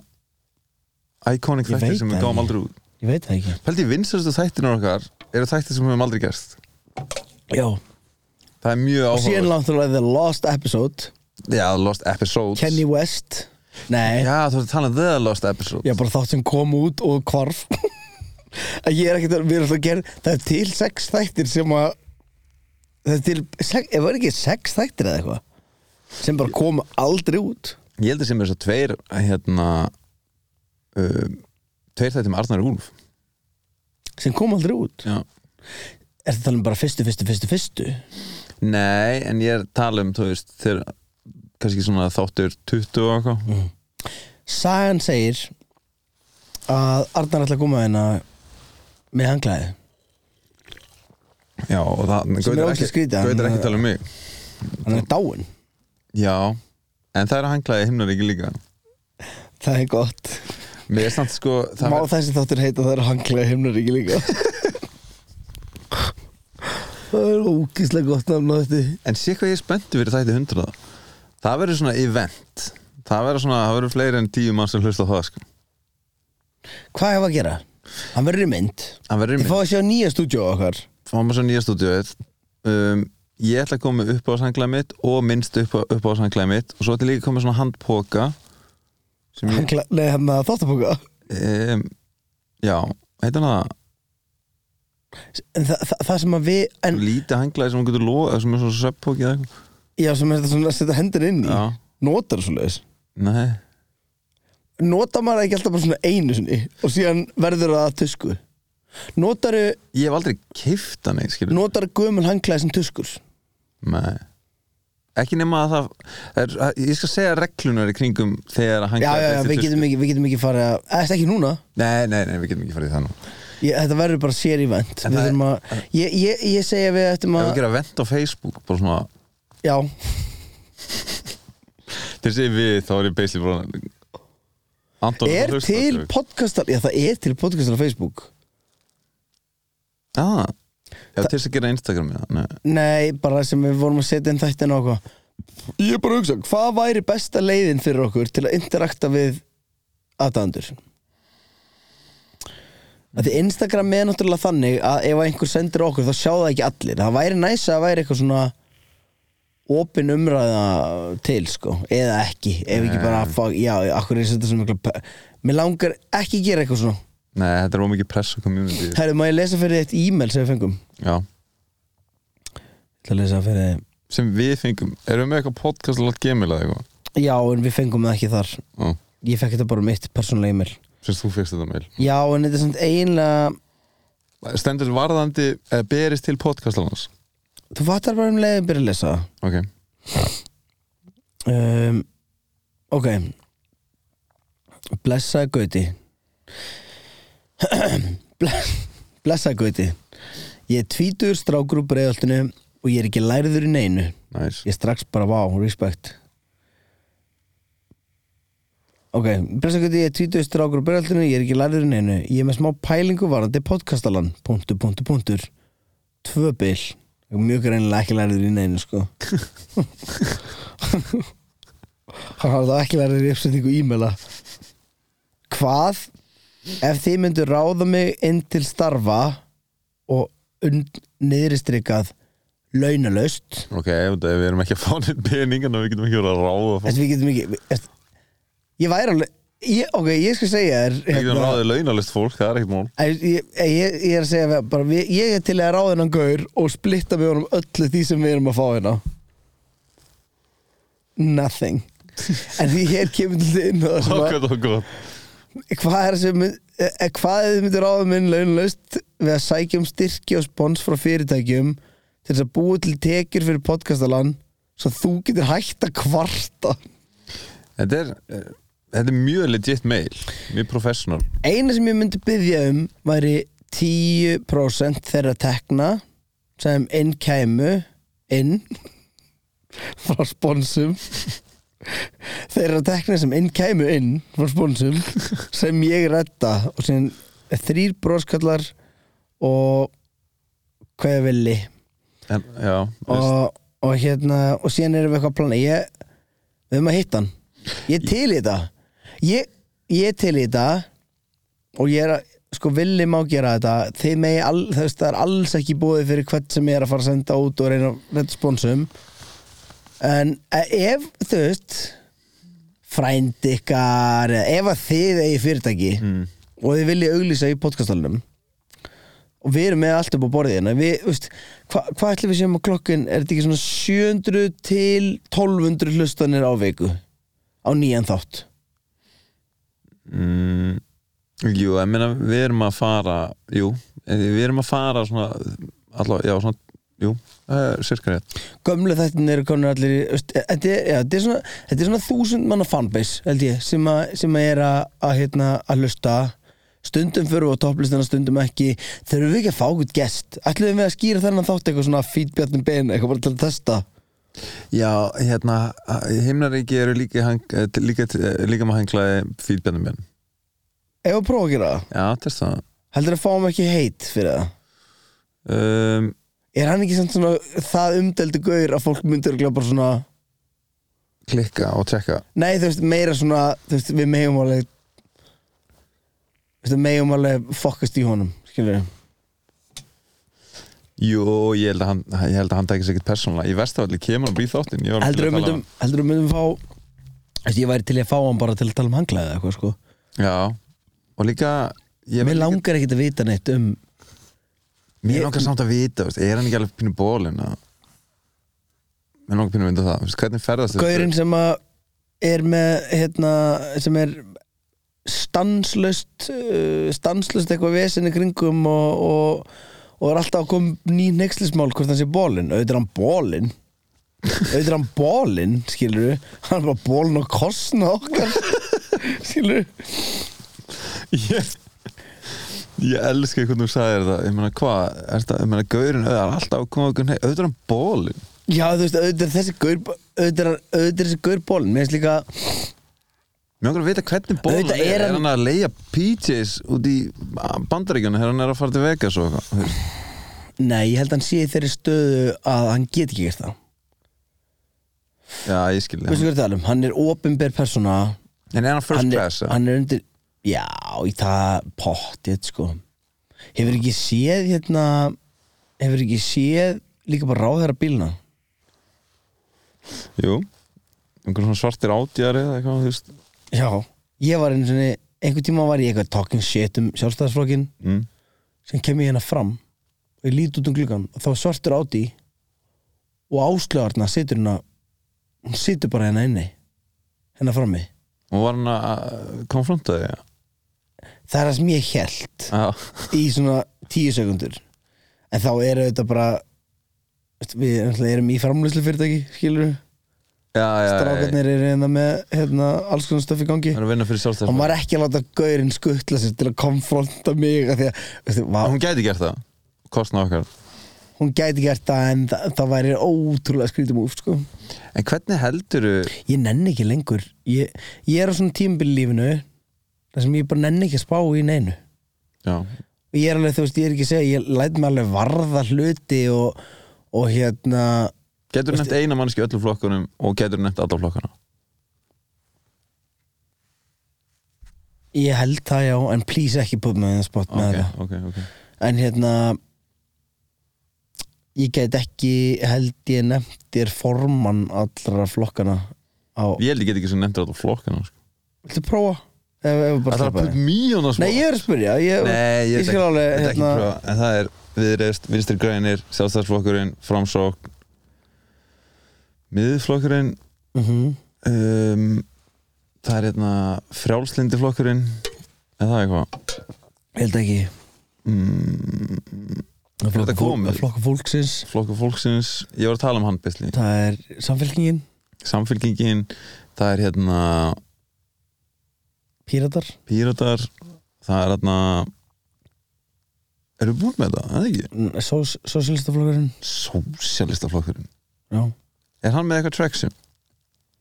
Speaker 2: iconic
Speaker 1: Ég
Speaker 2: þættir
Speaker 1: veit
Speaker 2: sem við
Speaker 1: það
Speaker 2: gáum
Speaker 1: ekki.
Speaker 2: aldrei út
Speaker 1: Ég veit það ekki
Speaker 2: Pældi, vinsastu þættirinn okkar eru þættir sem við höfum aldrei gerst
Speaker 1: Já,
Speaker 2: Það er mjög
Speaker 1: og síðan
Speaker 2: áhuga
Speaker 1: náttúrulega The Lost Episode
Speaker 2: Já, Lost Episodes
Speaker 1: Kenny West Nei,
Speaker 2: Já, þú ert að tala um The Lost Episodes
Speaker 1: ég er bara þátt sem kom út og hvarf [laughs] En Ég er ekkert að, við erum alltaf að gera Það er til sex þættir sem að Það er til, sex, ef það er ekki sex þættir eða eitthvað Sem bara komu aldrei út
Speaker 2: Ég held að sem er svo tveir hérna um, tveir þættir með Arnar Úlf
Speaker 1: Sem komu aldrei út
Speaker 2: Já
Speaker 1: Er það talað um bara fyrstu, fyrstu, fyrstu, fyrstu
Speaker 2: Nei, en ég er að tala um, þú veist, þegar kannski svona þáttur 20 og eitthvað
Speaker 1: Mm. Sagan segir Að Arnar ætla að koma hérna Með hanglaði
Speaker 2: Já, og
Speaker 1: Sem er
Speaker 2: það, Gauti
Speaker 1: ógeðslega
Speaker 2: ekki,
Speaker 1: skrítið, hann-
Speaker 2: Gauti er ekki að tala um mig
Speaker 1: Hann er dáinn
Speaker 2: Já, en það er að hanglaði himnar ekki líka
Speaker 1: Það er gott
Speaker 2: Mér er samt sko það
Speaker 1: Má
Speaker 2: er,
Speaker 1: þessi þáttur heita það er hanglega himnaríki líka Það er ógíslega gott nafn á þetta
Speaker 2: En sé hvað ég er spenntu fyrir þætti 100 Það verður svona event Það verður svona, það verður fleiri en tíu mann sem hlusta á það sko
Speaker 1: Hvað hefur að gera? Hann verður í mynd
Speaker 2: Það verður
Speaker 1: Ég fá
Speaker 2: mér,
Speaker 1: að sjá nýja stúdíó okkar
Speaker 2: þá maður svo nýja stúdíu um, Ég ætla að koma upp á sanglaði mitt og minnst upp á, upp á sanglaði mitt og svo ætla ég líka að koma með svona handpoka sem ég
Speaker 1: Hangla, Nei, hérna, hann að þáttapóka
Speaker 2: um, Já, heitir hann það
Speaker 1: En það, það, það sem að við en,
Speaker 2: Lítið hanglaði sem hún getur loða sem er svona sveppóki eða eitthvað
Speaker 1: Já, sem er þetta svona að setja hendur inn í
Speaker 2: Já.
Speaker 1: Notar svo leiðis
Speaker 2: Nei
Speaker 1: Notar maður það ekki alltaf bara svona einu sinni Og síðan verður það að tusku Notaru,
Speaker 2: Ég hef aldrei keift hann einn, skilur
Speaker 1: notaru gömul hanglaði sem tuskur
Speaker 2: Nei Ekki nema að það, er, ég skal segja reglunar í kringum þegar að hann
Speaker 1: Já, já, já, við getum ekki, við getum ekki farið að Eða ekki núna
Speaker 2: Nei, nei, nei, við getum ekki farið í það nú
Speaker 1: Ég, þetta verður bara sér í vend
Speaker 2: En það er-
Speaker 1: ég, ég, ég segja við ættum
Speaker 2: Ef
Speaker 1: að
Speaker 2: við gera vent á Facebook, bara svona
Speaker 1: Já,
Speaker 2: Þegar segir við, þá er ég beisli bara Anton
Speaker 1: er til podcastar Já, það er til podcastar á Facebook
Speaker 2: Já, ah, já til þess að gera Instagram já, nei.
Speaker 1: Nei, bara sem við vorum að setja inn þættin og okkur Ég er bara að hugsa, hvað væri besta leiðin fyrir okkur til að interakta við aðdæðandur? Að því Instagram er náttúrulega þannig að ef einhver sendir okkur þá sjá það ekki allir Það væri næsa að væri eitthvað svona opin umræða til sko, eða ekki ef ekki bara að fá, já, akkur er þetta svona mikla pe- Mér langar ekki að gera eitthvað svona
Speaker 2: nei, þetta er ómikið press á community
Speaker 1: Herru, má ég lesa fyrir eitt e-mail sem við fengum?
Speaker 2: Já,
Speaker 1: Ég ætla að lesa fyrir
Speaker 2: sem við fengum Erum við með eitthvað podcast að láta gemil eða eitthvað?
Speaker 1: Já, en við fengum það ekki þar
Speaker 2: Já,
Speaker 1: Ég fekk þetta bara um mitt persónulega e-mail
Speaker 2: sem þú fyrst þetta meil
Speaker 1: Já, en þetta er svona eiginlega
Speaker 2: Stendur varðandi, eða berist til podcast hans
Speaker 1: Þú fattar bara um leiðin byrja að lesa
Speaker 2: Ok,
Speaker 1: það. um, Ok Blessaði Gauti [clears throat] Ble- Blessaði Gauti Ég er tvítur strákur úr breiðaltinu og ég er ekki læriður í neinu
Speaker 2: nice
Speaker 1: Ég er strax bara vá, respect Ok, pressakvöldi ég er 20 E, strákur á byrjaldinu, ég er ekki lærður en einu Ég er með smá pælingu varandi podcastalan Punktur, punktur, punktur Tvö bil Mjög reynilega ekki lærður í neinu, sko [laughs] Hann hafði þá ekki lærður í uppsetningu e-maila Hvað ef þið myndu ráða mig inn til starfa og und, niðristrykað launalaust
Speaker 2: Ok, ef þetta- ef við erum ekki að fá neitt peningana við getum ekki verið að ráða fólk
Speaker 1: Þessi, við getum ekki við- veist, Ég væri alveg ég, Ok, ég skal segja þér
Speaker 2: Við getum
Speaker 1: hérna,
Speaker 2: ráðið launalist fólk, það er ekkert mál
Speaker 1: að ég, ég, ég er að segja við- bara, við, Ég er til að ráða hennan gaur og splitta með honum öllu því sem við erum að fá hérna
Speaker 2: [laughs]
Speaker 1: Nothing En því hér kemur til þinn og það sem að-
Speaker 2: Ákvæmt og gott
Speaker 1: Hvað er sem mynd- eh, eh, Hvað er þið myndir ráða minn launlaust við að sækja um styrki og spons frá fyrirtækjum til þess að búa til tekjur fyrir podcastalann svo þú getur hægt að kvarta
Speaker 2: Þetta er, eh, þetta er mjög legit mail Mjög professional
Speaker 1: eina sem ég myndi byggja um væri 10% þeirra tekna sem inn kæmu inn frá sponsum þeirra tekna sem inn kæmu inn frá sponsum sem ég redda og sem þrýr broskallar og hvað ég villi
Speaker 2: en, já, og...
Speaker 1: og, og hérna og síðan erum við eitthvað að plana ég, við höfum að hitta hann ég er til í þetta ég, ég er til í þetta og ég er að sko villi má gera þetta þið megi, all, þú veist, það er alls ekki búið fyrir hvert sem ég er að fara að senda út og reyna að redda sponsum en e- ef, þú veist frændi ykkar eða ef að þið eigi fyrirtæki og þið viljið auglýsa í podcastalunum og við erum með allt upp á borðinu við, veist, hva, hvað ætlum við séum á klokkin er þetta ekki svona 700 til 1200 hlustanir á viku á nýjan þátt
Speaker 2: mm, jú, ég meina við erum að fara jú, en við erum að fara svona, allavega, já, svona jú, það er sirka rétt
Speaker 1: gömlu þættin eru komin allir í- veist, e- þetta er, já, þetta er svona þetta er svona þúsund manna fanbase held ég sem, a, sem að er að, að, hérna, að hlusta stundum fyrir og topplistina stundum ekki þurfum við ekki að fá okkur gest ætlum við að skýra þennan þátt eitthvað svona feedbjartin bein eitthvað bara til að testa
Speaker 2: já, hérna, himnaríki eru líka hang, eh, líka, eh, líka maður henglaði fýtbjörnum minn
Speaker 1: ef að prófa að gera það
Speaker 2: já, testa það
Speaker 1: heldur að fáum ekki heit fyrir það
Speaker 2: um,
Speaker 1: Er hann ekki samt svona það umdeldi gaur að fólk myndir að bara svona
Speaker 2: klikka og tjekka
Speaker 1: Nei, þú veist, meira svona þú veist, við megum alveg þú veist, við megum alveg fokkast í honum, skilur við
Speaker 2: jú, ég held að hann, ég held að hann tækis ekkert persónulega í vestafalli kemur hann býð þáttinn ég var að
Speaker 1: Heldur við
Speaker 2: tala um-
Speaker 1: myndum, heldur við myndum fá þú veist, ég væri til í að fá hann bara til að tala um hanglaðið eitthvað, sko
Speaker 2: um- já, og líka
Speaker 1: Mér
Speaker 2: ég var líka-
Speaker 1: langar ekkert að vita neitt um
Speaker 2: Mér langar samt að vita, veist, er hann ekki alveg pínu bólin að Mér langar pínu að mynda það, veist, hvernig ferðast þetta?
Speaker 1: gaurinn sem að er með, hérna, sem er stanslust uh, stanslust eitthvað vesinni kringum og, og, og er alltaf að koma ný neykslismál hvort hann sé bólinn auðvitað er hann bólinn auðvitað er hann bólinn, skilur hann er bara bólinn og kostna okkar [laughs] skilur
Speaker 2: [laughs] Ég, ég elska hvernig þú sagðir það, ég meina hvað, er þetta, ég meina gaurinn, auðvitað er alltaf að koma okkur, nei, auðvitað er hann bólin
Speaker 1: já, þú veist, auðvitað er þessi gaur auðvitað er, auðvitað er þessi gaur bólinn mér finnst líka,
Speaker 2: Mér langar að vita hvernig bólin
Speaker 1: Auðvitað
Speaker 2: er,
Speaker 1: er
Speaker 2: er
Speaker 1: hann-
Speaker 2: hann að leia PJs út í bandaríkjana þegar hann er að fara til Vegas og eitthvað þú veist.
Speaker 1: nei, ég held að hann sé í þeirri stöðu að hann get ekki gert það
Speaker 2: Já, ég skilja
Speaker 1: veistu hvað ég er að tala um, hann er opinber persóna
Speaker 2: En er hann first
Speaker 1: hann
Speaker 2: class?
Speaker 1: er,
Speaker 2: eða?
Speaker 1: hann er undir já, í það pottið sko hefur ekki séð hérna hefur ekki séð líka bara ráðherra bílna
Speaker 2: Jú, einhvern svona svartir átjari eða eitthvað, þú veist
Speaker 1: já, ég var einu sinni einhvern tíma var ég eitthvað talking shit um sjálfstæðisflokkin
Speaker 2: mm.
Speaker 1: sem kem ég hérna fram og ég lít út um gluggan og þá er svartur áti og áslöðarna situr hérna hún situr bara hérna inni hérna frammi
Speaker 2: Og var hann að konfronta þig?
Speaker 1: það er það sem ég held
Speaker 2: Já,
Speaker 1: í svona tíu sekundur en þá eru þetta bara veist, við náttúrulega erum í framlýslu fyrirtæki skilur við,
Speaker 2: já, já, já, já.
Speaker 1: strákarnir eru hérna með hérna, alls konar stöfi í gangi
Speaker 2: Það er að vinna fyrir
Speaker 1: og
Speaker 2: sjálfstæðismann
Speaker 1: maður er ekki að láta gaurinn skuttla sér til að konfronta mig af því að veist, vá,
Speaker 2: Hún gæti gert það Kostna okkar
Speaker 1: hún gæti gert það en það, það væri ótrúlega skrítum úf sko.
Speaker 2: En hvernig heldur
Speaker 1: ég nenni ekki lengur ég, ég er á svona tímbil lífinu þar sem ég bara nenni ekki að spá í neinu
Speaker 2: Já
Speaker 1: og ég er alveg, þú veist, ég er ekki að segja ég læt mig alveg varða hluti og, og hérna
Speaker 2: Getur nefnt eina mannski öllu flokkunum og getur nefnt alla flokkana
Speaker 1: Ég held það já, en please ekki put me in the spot með
Speaker 2: Ok,
Speaker 1: þetta
Speaker 2: ok, ok
Speaker 1: En hérna Ég get ekki held ég nefnt þér formann allra flokkana á,
Speaker 2: Ég held ég get ekki sem nefndir alla flokkana sko.
Speaker 1: Viltu prófa? Ef, ef við bara
Speaker 2: Það er að
Speaker 1: sleppa
Speaker 2: put
Speaker 1: því.
Speaker 2: míjóna
Speaker 1: Nei, ég er að spyrja Ég,
Speaker 2: Nei, ég,
Speaker 1: ég
Speaker 2: veit
Speaker 1: skal
Speaker 2: ekki-
Speaker 1: alveg
Speaker 2: veit ekki
Speaker 1: hérna,
Speaker 2: prófa, En það er viðreist, vinstri grænir, sjálfstæðsflokkurinn, framsókn Miðflokkurinn
Speaker 1: uh
Speaker 2: um, Það er hérna frjálslindi flokkurinn Er það eitthvað?
Speaker 1: Ég held ekki
Speaker 2: Mm,
Speaker 1: Að
Speaker 2: þetta
Speaker 1: flokka fólk-
Speaker 2: komið?
Speaker 1: að Flokka fólksins
Speaker 2: flokkur fólksins Ég var að tala um hann Bisli
Speaker 1: Það er samfélkingin,
Speaker 2: samfélkingin það er hérna
Speaker 1: píratar
Speaker 2: píratar það er hérna Erum við búin með þetta? Það ekki?
Speaker 1: Sósilistaflokkurinn
Speaker 2: Sósialistaflokkurinn
Speaker 1: Já,
Speaker 2: Er hann með eitthvað traction?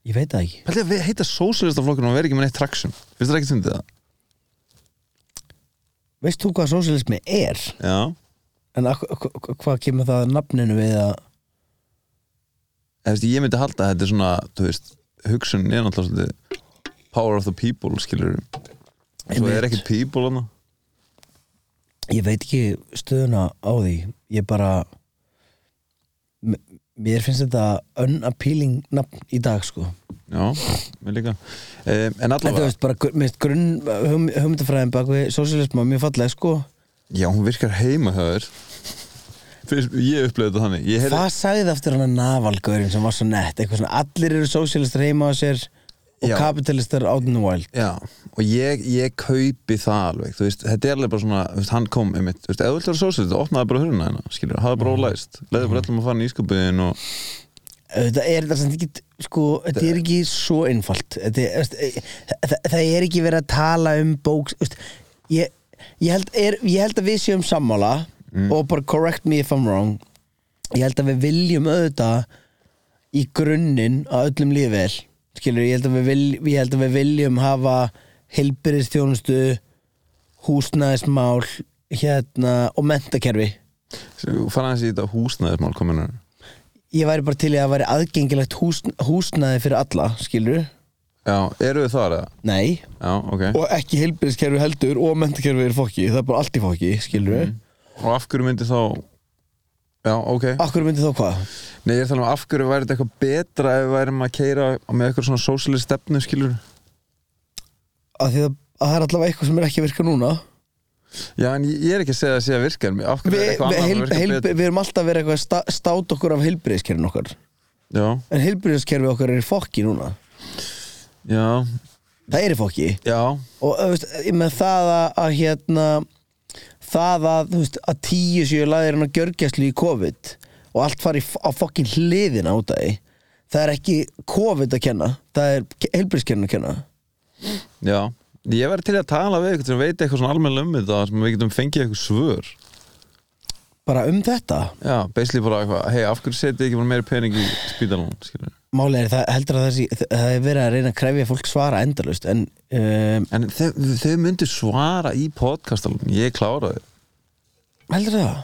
Speaker 1: ég veit það ekki
Speaker 2: Pæli að við heita sósialistaflokkurinn og vera ekki með neitt traction Finnst þér ekki tundið það?
Speaker 1: Veist þú hvað sósilismi er?
Speaker 2: Já
Speaker 1: En ak- ak- ak- hvað kemur það að nafninu við að
Speaker 2: Eða, veist, Ég myndi halda að þetta er svona, þú veist Hugsun er náttúrulega svolítið Power of the people, skilur Svo
Speaker 1: Einmitt.
Speaker 2: er ekkert people hana
Speaker 1: Ég veit ekki stöðuna á því Ég bara M- Mér finnst þetta unappealing nafn í dag sko
Speaker 2: Já, mér líka um, En
Speaker 1: En þú
Speaker 2: allavega,
Speaker 1: veist bara gr- mér finnst grunn hum, humdafræðin bak við sósilisma mjög falleg sko
Speaker 2: já, hún virkar heima höfður Ég upplöði þetta þannig Ég heyrði-
Speaker 1: Hvað sagði það aftur hann að navalgaurin sem var svo nett eitthvað svona allir eru sósilistar heima á sér og
Speaker 2: Já.
Speaker 1: kapitalistar out in the wild
Speaker 2: Já, og ég, ég kaupi það alveg, þú veist, þetta er alveg bara svona, þú veist, hann kom einmitt, þú veist, eða þú vilt vera sósið, þú opnaði bara hurðina hérna, skilur, hafði bara ólæst, leiði bara öllum að fara í ískapuðin og,
Speaker 1: Þetta er þetta sem ekki sko, þetta er ekki svo einfalt þetta er, veist, e- það, það er ekki verið að tala um bók veist, ég, ég, held, er, ég held að við séum sammála og bara correct me if I'm wrong ég held að við viljum auðvitað í grunninn að öllum lífi vel skilur, ég held að við, vil, ég held að við viljum hafa heilbyrðistjónustu húsnæðismál hérna og mentakerfi
Speaker 2: og fara aðeins í þetta húsnæðismál kominu.
Speaker 1: ég væri bara til í að það væri aðgengilegt hús, húsnaði fyrir alla, skilur
Speaker 2: Já, eru þið þar eða?
Speaker 1: Nei
Speaker 2: Já, ok. Og,
Speaker 1: Og ekki heilbyrðiskerfi heldur og mentakerfi er fokki Það er bara allt í fokki, skilur við mm.
Speaker 2: af hverju myndi þá, já, ok.
Speaker 1: Akkur myndi þá hvað?
Speaker 2: Nei, ég er að tala um af hverju væri þetta eitthvað betra ef við værim að keira með eitthvað svona sósilist stefnu, skilur.
Speaker 1: Að því að, að það er allavega eitthvað sem er ekki að virka núna
Speaker 2: Já, en ég ég er ekki að segja að sé að virka, en af hverju
Speaker 1: Við
Speaker 2: er
Speaker 1: vi,
Speaker 2: eitthvað annað
Speaker 1: heil,
Speaker 2: að virka
Speaker 1: heil,
Speaker 2: betra?
Speaker 1: Við erum alltaf verið eitthvað að stá- státa okkur af heilbyrðiskerfin okkar
Speaker 2: Já,
Speaker 1: En heilbyrðiskerfi okkar er í fokki núna
Speaker 2: já,
Speaker 1: Það er í fokki
Speaker 2: já,
Speaker 1: Og þú veist, ég með það að, að hérna Það að, þú veist, að tíu séu laðir hann að gjörgjæslu í COVID Og allt fari í f- á fokkin hliðina út af því Það er ekki COVID að kenna Það er heilbyrðiskerfin að kenna
Speaker 2: Já, ég verði til að tala við eitthvað sem veit eitthvað svona almenn um þetta sem við getum fengið eitthvað svör
Speaker 1: bara um þetta
Speaker 2: Já, basically bara eitthvað, hei, af hverju setið ekki bara meiri pening í spítalann, skilur
Speaker 1: málið er það heldur að það, sé, það er verið að reyna að krefja fólk svara endalaust en um,
Speaker 2: En þau, þau myndu svara í podcastalun, ég klára þau
Speaker 1: heldur það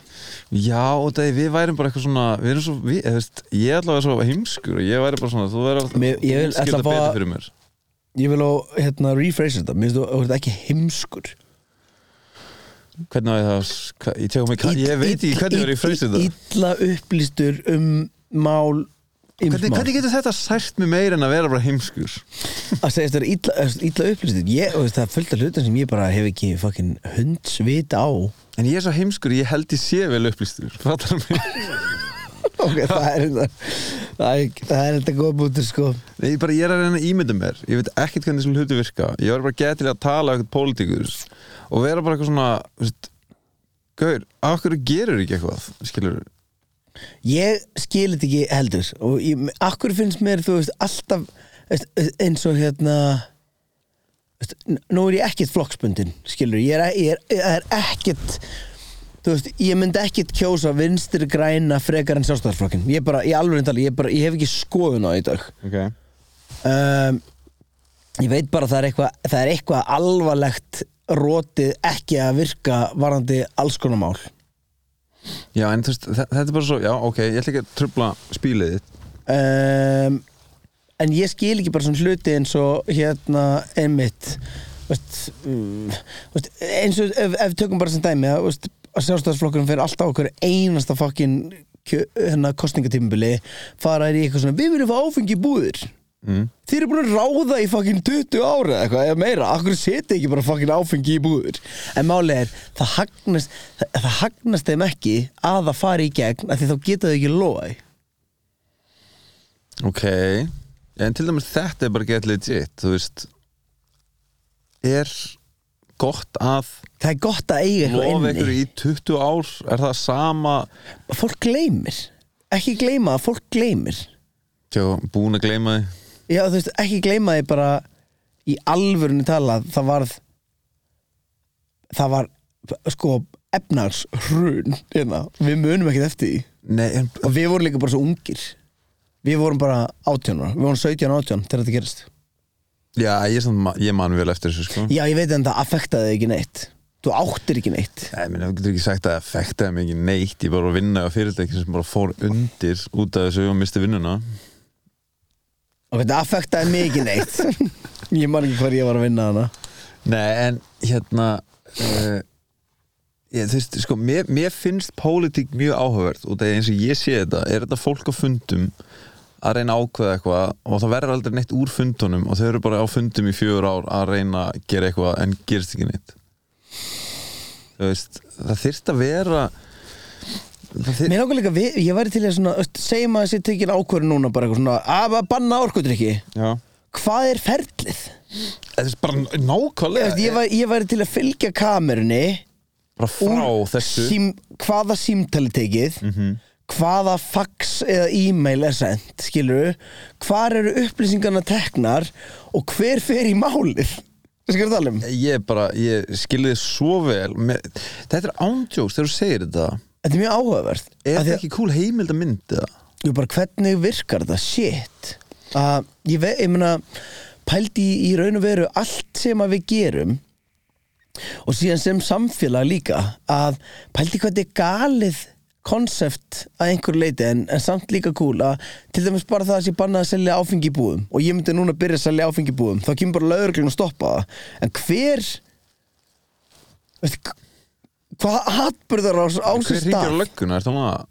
Speaker 2: Já, og það er, við værum bara eitthvað svona við erum svo, við, eða, veist, ég ætla að vera svo heimskur og ég væri bara svona, þú verður
Speaker 1: Mér- ég vil- ætla
Speaker 2: skilta
Speaker 1: að fá
Speaker 2: betur
Speaker 1: að-
Speaker 2: fyrir mér
Speaker 1: ég vil á hérna rephrase þetta mér finnst þú þú ert ekki heimskur
Speaker 2: Hvernig á ég það, hva- ég tekum mig, ka- ég veit ekki hvernig verður ég freysið það
Speaker 1: illa upplýstur um mál
Speaker 2: Hvernig,
Speaker 1: ýmsmál.
Speaker 2: hvernig getur þetta sært mig meir en að vera bara heimskur?
Speaker 1: að segja þetta er illa, illa upplýstur ég, og veist, það er fullt af hlutum sem ég bara hef ekki fucking hundsvita á
Speaker 2: En ég er svo heimskur, ég held ég sé vel upplýstur Fattar mig?
Speaker 1: ok, það er þetta það er, það er þetta góð bútur sko
Speaker 2: Nei, ég, bara, ég er að reyna að ímynda mér Ég veit ekkert hvernig þessum hluti virka Ég var bara gett til að tala eitthvað pólitíkur Og vera bara eitthvað svona þú veist, Gaur, af hverju gerur ekki eitthvað Skilur
Speaker 1: Ég skil þetta ekki heldur og ég, akkur finnst mér, þú veist, alltaf veist, eins og hérna veist, n- nú er ég ekkert flokksbundin, skilur, ég er, e-, ég er, það er ekkert þú veist, ég myndi ekkert kjósa vinstri græna frekar en sjálfstæðarflokkin ég bara, ég alveg tala, ég bara, ég hef ekki skoðun á því í dag
Speaker 2: okay.
Speaker 1: um, ég veit bara að það er eitthvað það er eitthvað alvarlegt rótið ekki að virka varandi alls konar mál
Speaker 2: Já, en þú veist, þe- þetta er bara svo Já, ok, ég ætla ekki að trubla spílið þitt
Speaker 1: um, en ég skil ekki bara svona hluti eins og hérna einmitt veist, mm, veist, eins og ef, ef tökum bara sem dæmi að, veist, að sjálfstæðsflokkurinn fyrir alltaf okkur einasta fokkin hérna, kostningatímabili fara þær í eitthvað svona við viljum fá áfengi í búðir
Speaker 2: mm.
Speaker 1: þeir eru búin að ráða í fokkin 20 ára eða eitthvað eða meira, akkur seti ekki bara fokkin áfengi í búður en máli er, það hagnast það, það hagnast þeim ekki að það fari í gegn af því þá geta þau ekki lofa því
Speaker 2: Ok En til dæmis þetta er bara gett legit Þú veist Er gott að
Speaker 1: það er gott að eiga
Speaker 2: lofa
Speaker 1: eitthvað
Speaker 2: ykkur
Speaker 1: inni
Speaker 2: í 20 ár Er það sama
Speaker 1: fólk gleymir, ekki gleyma að fólk gleymir
Speaker 2: Tjá, búin að gleyma því
Speaker 1: já þú veist, ekki gleyma því bara í alvörunni talað það varð það var sko efnarshrun hérna. Við munum ekkert eftir því
Speaker 2: Nei, en
Speaker 1: og við vorum líka bara svo ungir Við vorum bara 18 ára, við vorum 17 18 þegar þetta gerist
Speaker 2: Já, ég, samt, ma- ég man vel eftir þessu sko
Speaker 1: Já, ég veit en það affektaði þig ekki neitt Þú áttir ekki neitt
Speaker 2: Nei, minn, þú getur ekki sagt að það fektaði mig ekki neitt Ég bara var að vinna á fyrirtæki sem bara fór undir út af þessu og misti vinnuna
Speaker 1: Og þetta affektaði mig ekki
Speaker 2: [laughs]
Speaker 1: neitt Ég man ekki hvar ég var að vinna hana
Speaker 2: Nei, en hérna uh, ég, þú veist, sko, mér, mér finnst pólitík mjög áhugavert og það er eins og ég sé þetta er þetta fólk á fundum að reyna að ákveða eitthvað og það verður aldrei neitt úr fundunum og þau eru bara á fundum í fjögur ár að reyna að gera eitthvað en gerist ekki neitt Þú veist, það þyrst að vera það þyr...
Speaker 1: Mér langar líka, við, ég væri til að svona, öst, segjum að þessi tekin ákvörðu núna bara eitthvað svona "Ah, að að banna orkudrykki,
Speaker 2: Já
Speaker 1: hvað er ferlið?
Speaker 2: Þetta er bara nákvæmlega
Speaker 1: Ég, ég, væri, ég væri til að fylgja kamerunni
Speaker 2: bara frá
Speaker 1: úr
Speaker 2: þessu Mhm.
Speaker 1: sím, hvaða símtali tekið hvaða fax eða e-mail er sendt, skilur hvar eru upplýsingarna teknar og hver fer í málið skilur tala um
Speaker 2: Ég bara, ég skilði þið svo vel Mér, Þetta er ándjóks þegar þú segir þetta
Speaker 1: þetta er mjög áhugavert
Speaker 2: Er
Speaker 1: Af því
Speaker 2: þetta
Speaker 1: að-
Speaker 2: ekki cool heimild að myndi það?
Speaker 1: Jú, bara hvernig virkar það, shit að ég, ve- ég meina pældi í, í raun og veru allt sem að við gerum og síðan sem samfélag líka að pældi hvernig er galið konsept að einhverju leiti en, en samt líka cool að til dæmis bara það að ég banna að selja áfengi í búðum og ég myndi núna byrja að selja áfengi í búðum þá kemur bara lögreglun og stoppa það en hver veistu, hvað atbyrðar á, á sér
Speaker 2: Hver
Speaker 1: stað
Speaker 2: hringir á lögguna? Er það maður að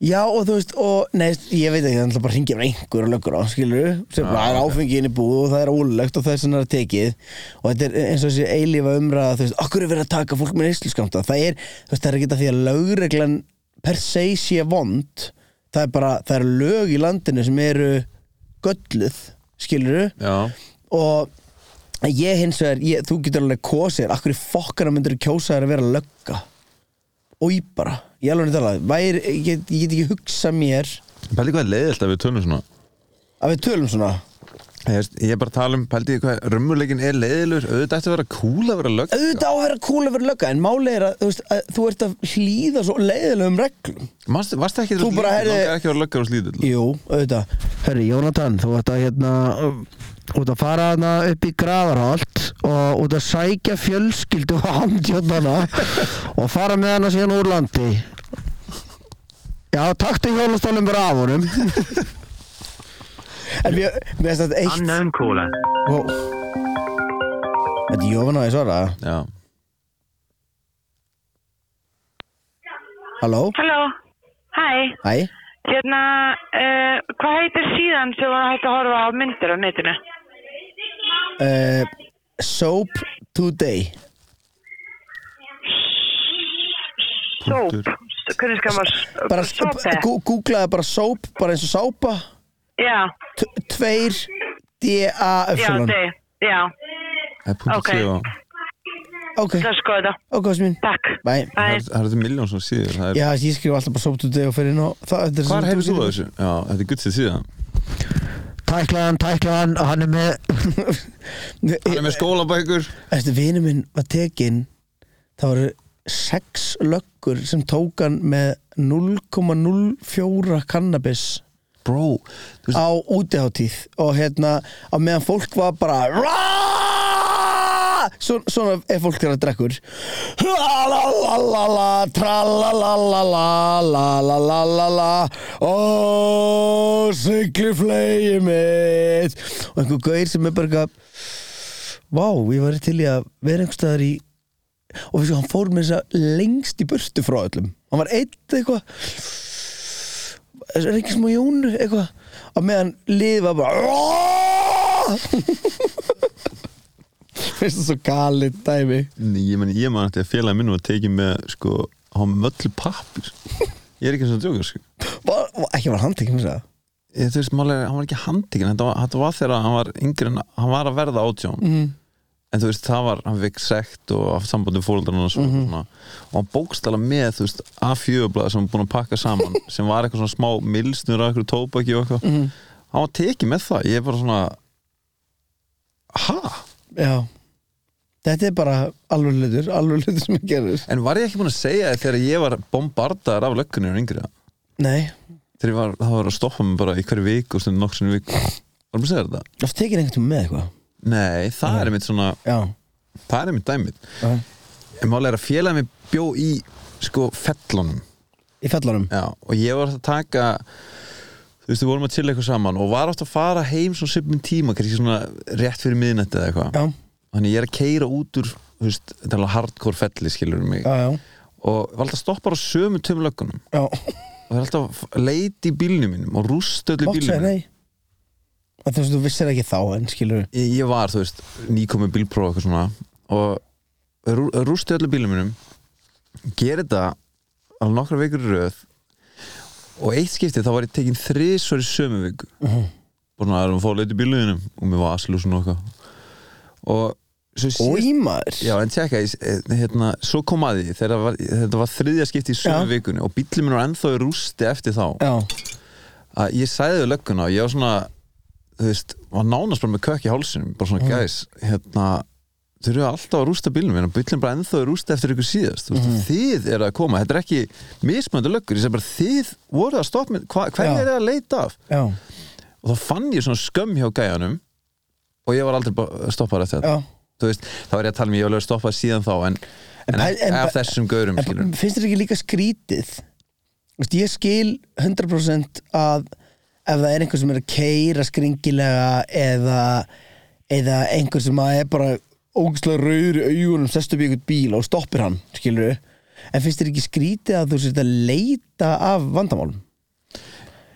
Speaker 1: Já og þú veist og nei, ég veit ekki, það er náttúrulega bara hringir á einhver og löggur á, skilur sem
Speaker 2: Já,
Speaker 1: bara það er
Speaker 2: ok.
Speaker 1: áfengi inn í búð og það er ólegt og það er sem það er tekið og þetta er eins og þessi eilífa umræða þú veist, okkur er verið að taka fólk með neysluskamta það er, þú veist, það er ekki það því að lögreglan per se sé vond það er bara, það eru lög í landinu sem eru gölluð skilur
Speaker 2: Já,
Speaker 1: og ég hins vegar, ég, þú getur alveg kosið þér, akkur í fokkana myndir kjósa þér að vera lögga og ég bara, ég alveg tala væri, ég, get, ég get ekki hugsa mér
Speaker 2: pældi hvað er leiðilt að við tölum svona
Speaker 1: að við tölum svona
Speaker 2: Ég veist, ég er bara að tala um, pældi hvað rummuleikin er leiðilur Auðvitað ætti að vera cool að vera lögg
Speaker 1: auðvitað á að vera cool að vera lögga en máli er að þú, veist, að þú ert að hlýða svo leiðilegum reglum
Speaker 2: Varst það ekki
Speaker 1: Þú bara, heyrðu-
Speaker 2: Langar ekki að vera löggar og slítill
Speaker 1: Jú, auðvitað Herri, Jónatan, þú ert að hérna út að fara hana upp í Grafarholt og út að sækja fjölskyldu á handjónana og fara með hana síðan úr landi Já, taktu hjólastólum bara af honum En mér mér finnst þetta eitt
Speaker 3: Unknown caller.
Speaker 1: Ó. Þetta er Jóvan á ég svara
Speaker 2: Já,
Speaker 1: Halló,
Speaker 4: Halló, hæ,
Speaker 1: hæ
Speaker 4: hérna, uh, hvað heitir síðan sem var hægt að horfa á myndir á netinu?
Speaker 1: uh, Soap Today
Speaker 4: Soap,
Speaker 2: Punktur.
Speaker 4: hvernig skal
Speaker 1: bara, eh,
Speaker 4: maður, eh. soap
Speaker 1: bara- gú- Googlaði bara soap, bara eins og sápa
Speaker 4: Já,
Speaker 1: T- Tveir D-A-Y
Speaker 4: já, þið, já,
Speaker 2: það er punktur
Speaker 4: Ok.
Speaker 2: okay. og
Speaker 1: Ok,
Speaker 4: það er skoða,
Speaker 1: ok, Ásmin
Speaker 4: takk.
Speaker 1: Bæ
Speaker 2: það
Speaker 4: Bye.
Speaker 2: er- það er þetta miljón sem síður það er,
Speaker 1: Já, ég skrif alltaf bara sópt út og fyrir inn á það þetta er
Speaker 2: Hvar
Speaker 1: sem-
Speaker 2: hefur þú
Speaker 1: [laughs]
Speaker 2: á þessu? Já, þetta er gutt sér síðan
Speaker 5: Tæklaðan, tæklaðan, hann er með
Speaker 2: Hann er með skólabækur
Speaker 1: Eftir vinu minn var tekin Það voru sex löggur sem tók hann með 0,04 kannabis
Speaker 2: Bro, þú veist,
Speaker 1: á útiháttíð og hérna á meðan fólk var bara Svo, svona ef fólk er að drekkur Lalalala Tralalalalalalalala Ó, sigli flegi oh, mitt Og einhver gaur sem er bara eitthvað Vá, ég var til í að vera einhvers staðar í og veistu, hann fór með þess að lengst í burtu frá öllum hann var eitt eitthvað er ekki smá jón eitthvað og meðan liðið var bara [laughs] finnst það svo galið dæmi
Speaker 2: ég man, ég man eftir að félagi minn var tekið með, sko, á möllu pappir Ég er ekki eins og djókar, sko
Speaker 1: var, var- ekki var hann tekið með það
Speaker 2: ég, þú veist, málega, hann var ekki handikinn þetta var, þetta var þegar hann var yngri en hann var að verða átján mm. en þú veist, það var, hann fekk sekt og haft sambandi fólkarnar og svona, og hann bókstala með, þú veist, A4-blað sem hann búin að pakka saman, sem var eitthvað svona smá milsnur af eitthvað tóbaki og eitthvað hann var tekið með það, ég er bara svona ha?
Speaker 1: já Þetta er bara alveg hlutur, alveg hlutur sem gerir
Speaker 2: En var ég ekki búin að segja þér þegar ég var bombardaður af löggunni en yngri
Speaker 1: Nei,
Speaker 2: Þegar ég var, það var að stoppa mig bara í hverju viku og stundum nokksun viku Varum að segja þér þetta?
Speaker 1: oft tekir einhvern tímann með eitthvað
Speaker 2: Nei, það er mitt svona,
Speaker 1: Já,
Speaker 2: það er mitt dæmið
Speaker 1: já.
Speaker 2: En málega er að félagið mér bjó í sko fellunum
Speaker 1: í fellanum
Speaker 2: Já, og ég var að taka þú veist, við vorum að chilla eitthvað saman og var átt að fara heim svona sipin tíma kannski svona rétt fyrir miðnætti eða eitthvað
Speaker 1: Já,
Speaker 2: þannig ég er að keira út úr þú veist, þetta er alveg hardcore felli skilur mig
Speaker 1: já, já,
Speaker 2: og var alltaf að stoppa á sömu tömu löggunum
Speaker 1: já.
Speaker 2: og það er alltaf að leita í bílnum mínum og rústa öllu
Speaker 1: Mátt segja
Speaker 2: bílnum
Speaker 1: nei Að Þú veist, þú vissir ekki þá en skilur
Speaker 2: ég, ég var, þú veist, nýkomi bílpróf eitthvað svona og rú- rústi öllu bílum mínum gera þetta alveg nokkra vikur í röð og eitt skipti þá var ég tekin þrisvar í sömu viku búin að erum að fá að leita í bílunum og mér var aslús og nokka og svo síðast
Speaker 1: Ói maður
Speaker 2: Já, en tjekka, ég- eh, hérna, svo kom að því þegar var, þetta var þriðja skipti í sömu
Speaker 1: Já.
Speaker 2: vikunni og bíllinn minn var ennþá í rústi eftir þá
Speaker 1: já,
Speaker 2: að ég sæði við lögguna og ég var svona þú veist, var nánast bara með kökk í hálsinum bara
Speaker 1: Mm.
Speaker 2: svona, gæs, hérna þau eru alltaf að rústa bílnum minn og bílinn bara ennþá er rústa eftir ykkur síðast, þú veist,
Speaker 1: Mm.
Speaker 2: þið eru að koma þetta er ekki mismöndu löggur ég segi bara, þið voruð að stoppa minn hva, hverju
Speaker 1: Já.
Speaker 2: er það að leita af?
Speaker 1: já,
Speaker 2: Og þá fann ég svona skömm hjá gæjanum og ég var aldrei bara stoppaður eftir þetta
Speaker 1: já.
Speaker 2: þú veist, þá er ég að tala um ég var alveg stoppað síðan þá en, en,
Speaker 1: En-
Speaker 2: en,
Speaker 1: en-
Speaker 2: af þessum gaurum,
Speaker 1: En
Speaker 2: skilur
Speaker 1: finnst þér ekki líka skrítið Þú veist, Ég skil 100% að ef það er einhver sem er að keira skringilega eða, eða einhver sem að er bara ógislega rauður í augunum sestu upp í einhvern bíl og stoppir hann skilur en finnst þér ekki skrítið að þú sért að leita af vandamálum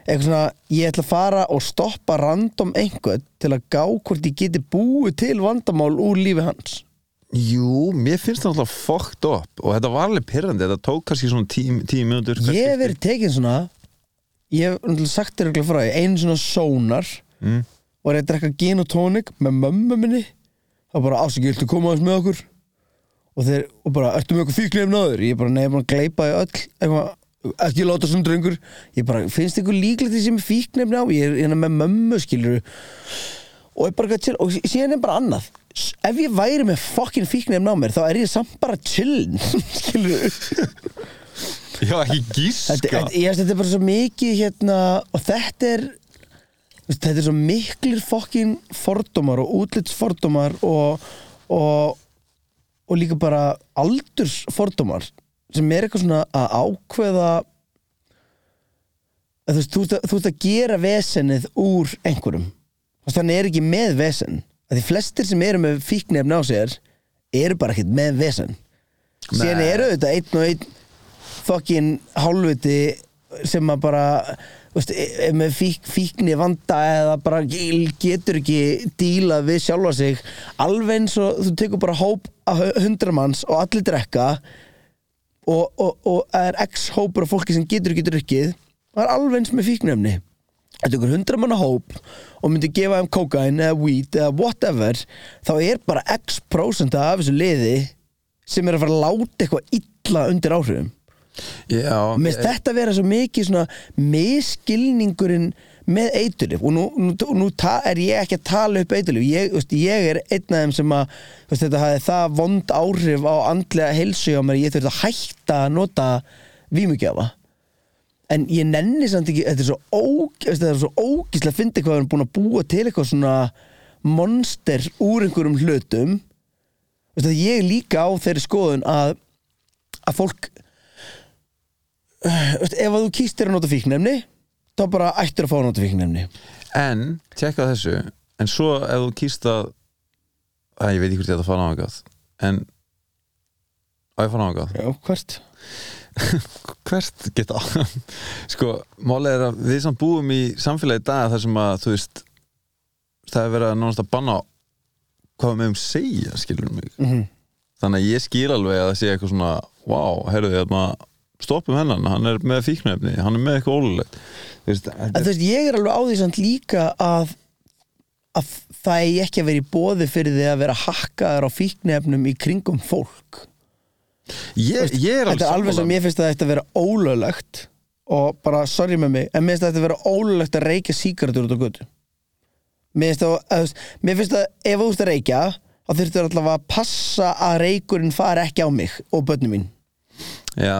Speaker 1: eitthvað svona, ég ætla að fara og stoppa random einhvern til að gá hvort ég geti búið til vandamál úr lífi hans
Speaker 2: Jú, mér finnst það alltaf fucked up og þetta var alveg pyrrandi, þetta tók kannski svona tíu, tíu mínútur
Speaker 1: ég
Speaker 2: hvert
Speaker 1: hef
Speaker 2: skipti.
Speaker 1: verið tekin svona ég hef náttúrulega sagt þér eitthvað frá því einu svona sónar
Speaker 2: mm.
Speaker 1: var ég að drekka gin og tónik með mömmu minni það var bara ásækjöld að koma aðeins með okkur og þeir, og bara, ertu með eitthvað fíknir um náður ég bara, nei, ég er búin að gleypa því öll eitthvað, ekki láta svona drengur ég bara, finnst ykkur líklegt því sem er fíknir á ég er hérna með mömmu, skilur og er bara eitthvað chill, og sí- síðan er bara annað S- ef ég væri með fokkin fíknir á mér þá er ég samt bara chillin [laughs] skilur
Speaker 2: [laughs] Já, ekki gíska
Speaker 1: þetta, þetta, ég veist, þetta er bara svo mikið hérna og þetta er þú veist, þetta er svo miklir fokkin fordómar og útlitsfordómar og, og og líka bara aldursfordómar sem er eitthvað svona að ákveða að þú veist, þú ert að, þú ert að gera vesenið úr einhverjum Þú veist, hann er ekki með vesen að því flestir sem eru með fíknefn á sér eru bara ekkert með vesen síðan
Speaker 2: Nei.
Speaker 1: eru þetta einn og einn fokkin hálfviti sem að bara þú veist, er með fík, fíkni vanda eða bara getur ekki díla við sjálfa sig alveg eins og þú tekur bara hóp af hundra manns og allir drekka og, og, og er x hópur af fólki sem getur ekki drukkið það er alveg eins með fíknefni Þetta ykkur hundra manna hóp og myndi gefa þeim kókain eða weed eða whatever þá er bara x prósenta af þessu liði sem er að fara að láta eitthvað illa undir áhrifum
Speaker 2: Já,
Speaker 1: Mér finnst
Speaker 2: ég,
Speaker 1: þetta vera svo mikið svona miskilningurinn með eiturlif og nú, nú, nú ta, er ég ekki að tala upp eiturlif ég, þú veist, ég er einn af þeim sem að þú veist, þetta hafði það vond áhrif á andlega heilsu á mér ég þurfti að hætta að nota vímugjafa en ég nenni samt ekki þetta er svo, óg, þú veist, þetta er svo ógíslega að fyndi hvað við erum búin að búa til eitthvað svona monster úr einhverjum hlutum Þú veist, að ég er líka á þeirri skoðun að að fólk Þú veist, ef að þú kýst þér að nota fíknefni þá bara ættir að fá að nota fíknefni
Speaker 2: en, tjekka þessu En svo ef þú kýst að Æ, ég veit ekki hvort ég ætla að fara náðgað En Á, ég að fara náðgað
Speaker 1: Já, hvert?
Speaker 2: Hvert geta [laughs] Sko, málega er að við samt búum í samfélagi í dag þar sem að, þú veist Það er verið að nánast að banna Hvað við meðum segja, skilur mig
Speaker 1: Mhm.
Speaker 2: þannig að ég skil alveg að það sé eitthvað svona wow, heyrðu þið, maður stoppum hennan hann er með fíknefni, hann er með eitthvað ólulegt þú veist,
Speaker 1: En þú
Speaker 2: þetta er-
Speaker 1: veist, ég er alveg á því samt líka að, að það er ekki að vera í bóði fyrir því að vera hakkaður á fíknefnum í kringum fólk
Speaker 2: ég, ég er
Speaker 1: Þetta er alveg sem
Speaker 2: sammála.
Speaker 1: ég finnst að þetta vera ólöglegt og bara sorry með mig en mér finnst að þetta vera ólöglegt að reykja síkardur út á götu Mér finnst að, að þú veist, mér finnst að ef þú ert að reykja þá þurftur allavega að passa að reykurinn fari ekki á mig og börnum mín
Speaker 2: Já,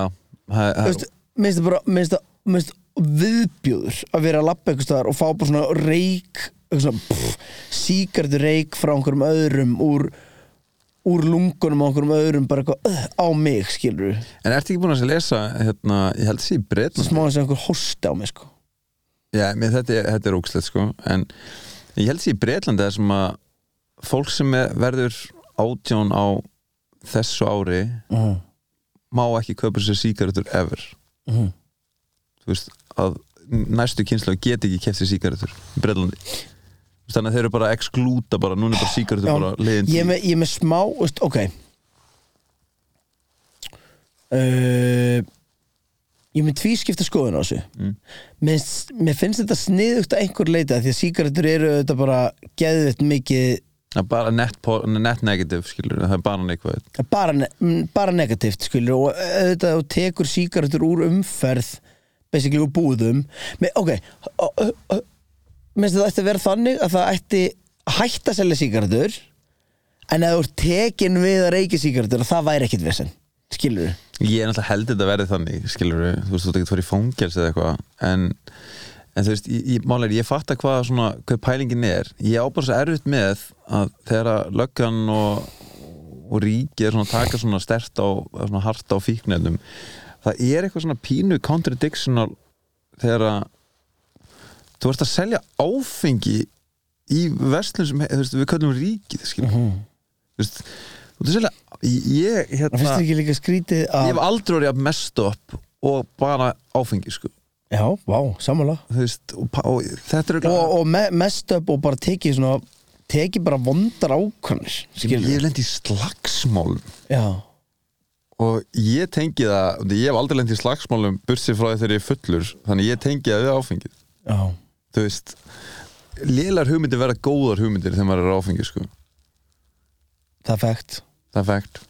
Speaker 2: það
Speaker 1: Þú
Speaker 2: það-
Speaker 1: veist, minnst það bara minnst það, minnst viðbjóður að vera að lappa einhvers staðar og fá bara svona reyk eitthvað svona, pff, síkardu reyk frá einhverjum öðrum úr, úr lungunum á einhverjum öðrum bara eitthvað uh, á mig skilur
Speaker 2: En ertu ekki búin að lesa hérna, ég held þessi í Bretland
Speaker 1: smá eins og einhver hósti á mig sko
Speaker 2: Já, mér, þetta, er- þetta er ógslegt sko en ég held sér í Breitland það er sem að fólk sem er, verður átján á þessu ári
Speaker 1: Mhm.
Speaker 2: má ekki kaupa sér sígarettur ever
Speaker 1: Mhm.
Speaker 2: þú veist að næstu kynslu get ekki keft sér sígarettur í Breitlandi þannig að þeir eru bara að exklúta bara, núna er bara sígarettur
Speaker 1: Já,
Speaker 2: bara liðin
Speaker 1: ég er með, ég er með smá veist, ok uh, ég er með tvískipta skoðun á þessu
Speaker 2: Mm.
Speaker 1: mér, s- mér finnst þetta sniðugt að einhver leita því að sígarettur eru þetta bara geðvett mikið
Speaker 2: að bara net, po- net negative skilur, það er bara neikvæð
Speaker 1: bara, ne mm, bara negativt skilur og auðvitað þú tekur sígarettur úr umferð basically úr búðum Me, ok minnst það ætti að vera þannig að það ætti að hætta að selja sígarettur en að þú ert tekin við að reykja sígarettur það væri ekkit vesen skilur
Speaker 2: Ég er náttúrulega held þetta verði þannig, skilur þú veist, þú ert ekki að fara í fangels eða eitthvað en, en þú veist, ég, ég, málega, ég fatta hvað svona, hver pælingin er ég á bara svo erfitt með að þegar að löggan og, og ríki er svona að taka svona stert á svona hart á fíknefnum það er eitthvað svona pínu contradictional þegar að þú ert að selja áfengi í verslun sem, þú veist, við köllum ríkið, skilur þú veist, þú ert að selja ég,
Speaker 1: það Mhm. finnst
Speaker 2: hérna
Speaker 1: þér ekki líka skrítið
Speaker 2: ég
Speaker 1: að
Speaker 2: hef aldrei orðið að mest upp og bara áfengi sko.
Speaker 1: já, vá, sammála
Speaker 2: Þú veist, og, pa- og þetta er
Speaker 1: og, og me mest upp og bara tekið svona tekið bara vondar ákvæmir
Speaker 2: ég
Speaker 1: skilur
Speaker 2: hef lent í slagsmál
Speaker 1: já,
Speaker 2: og ég tengi það því ég hef aldrei lent í slagsmálum bursið frá því þegar ég er fullur þannig ég tengi það við áfengið
Speaker 1: já,
Speaker 2: þú veist lélar hugmyndir verða góðar hugmyndir þegar maður er á áfengi sko.
Speaker 1: það er fægt
Speaker 2: það er fægt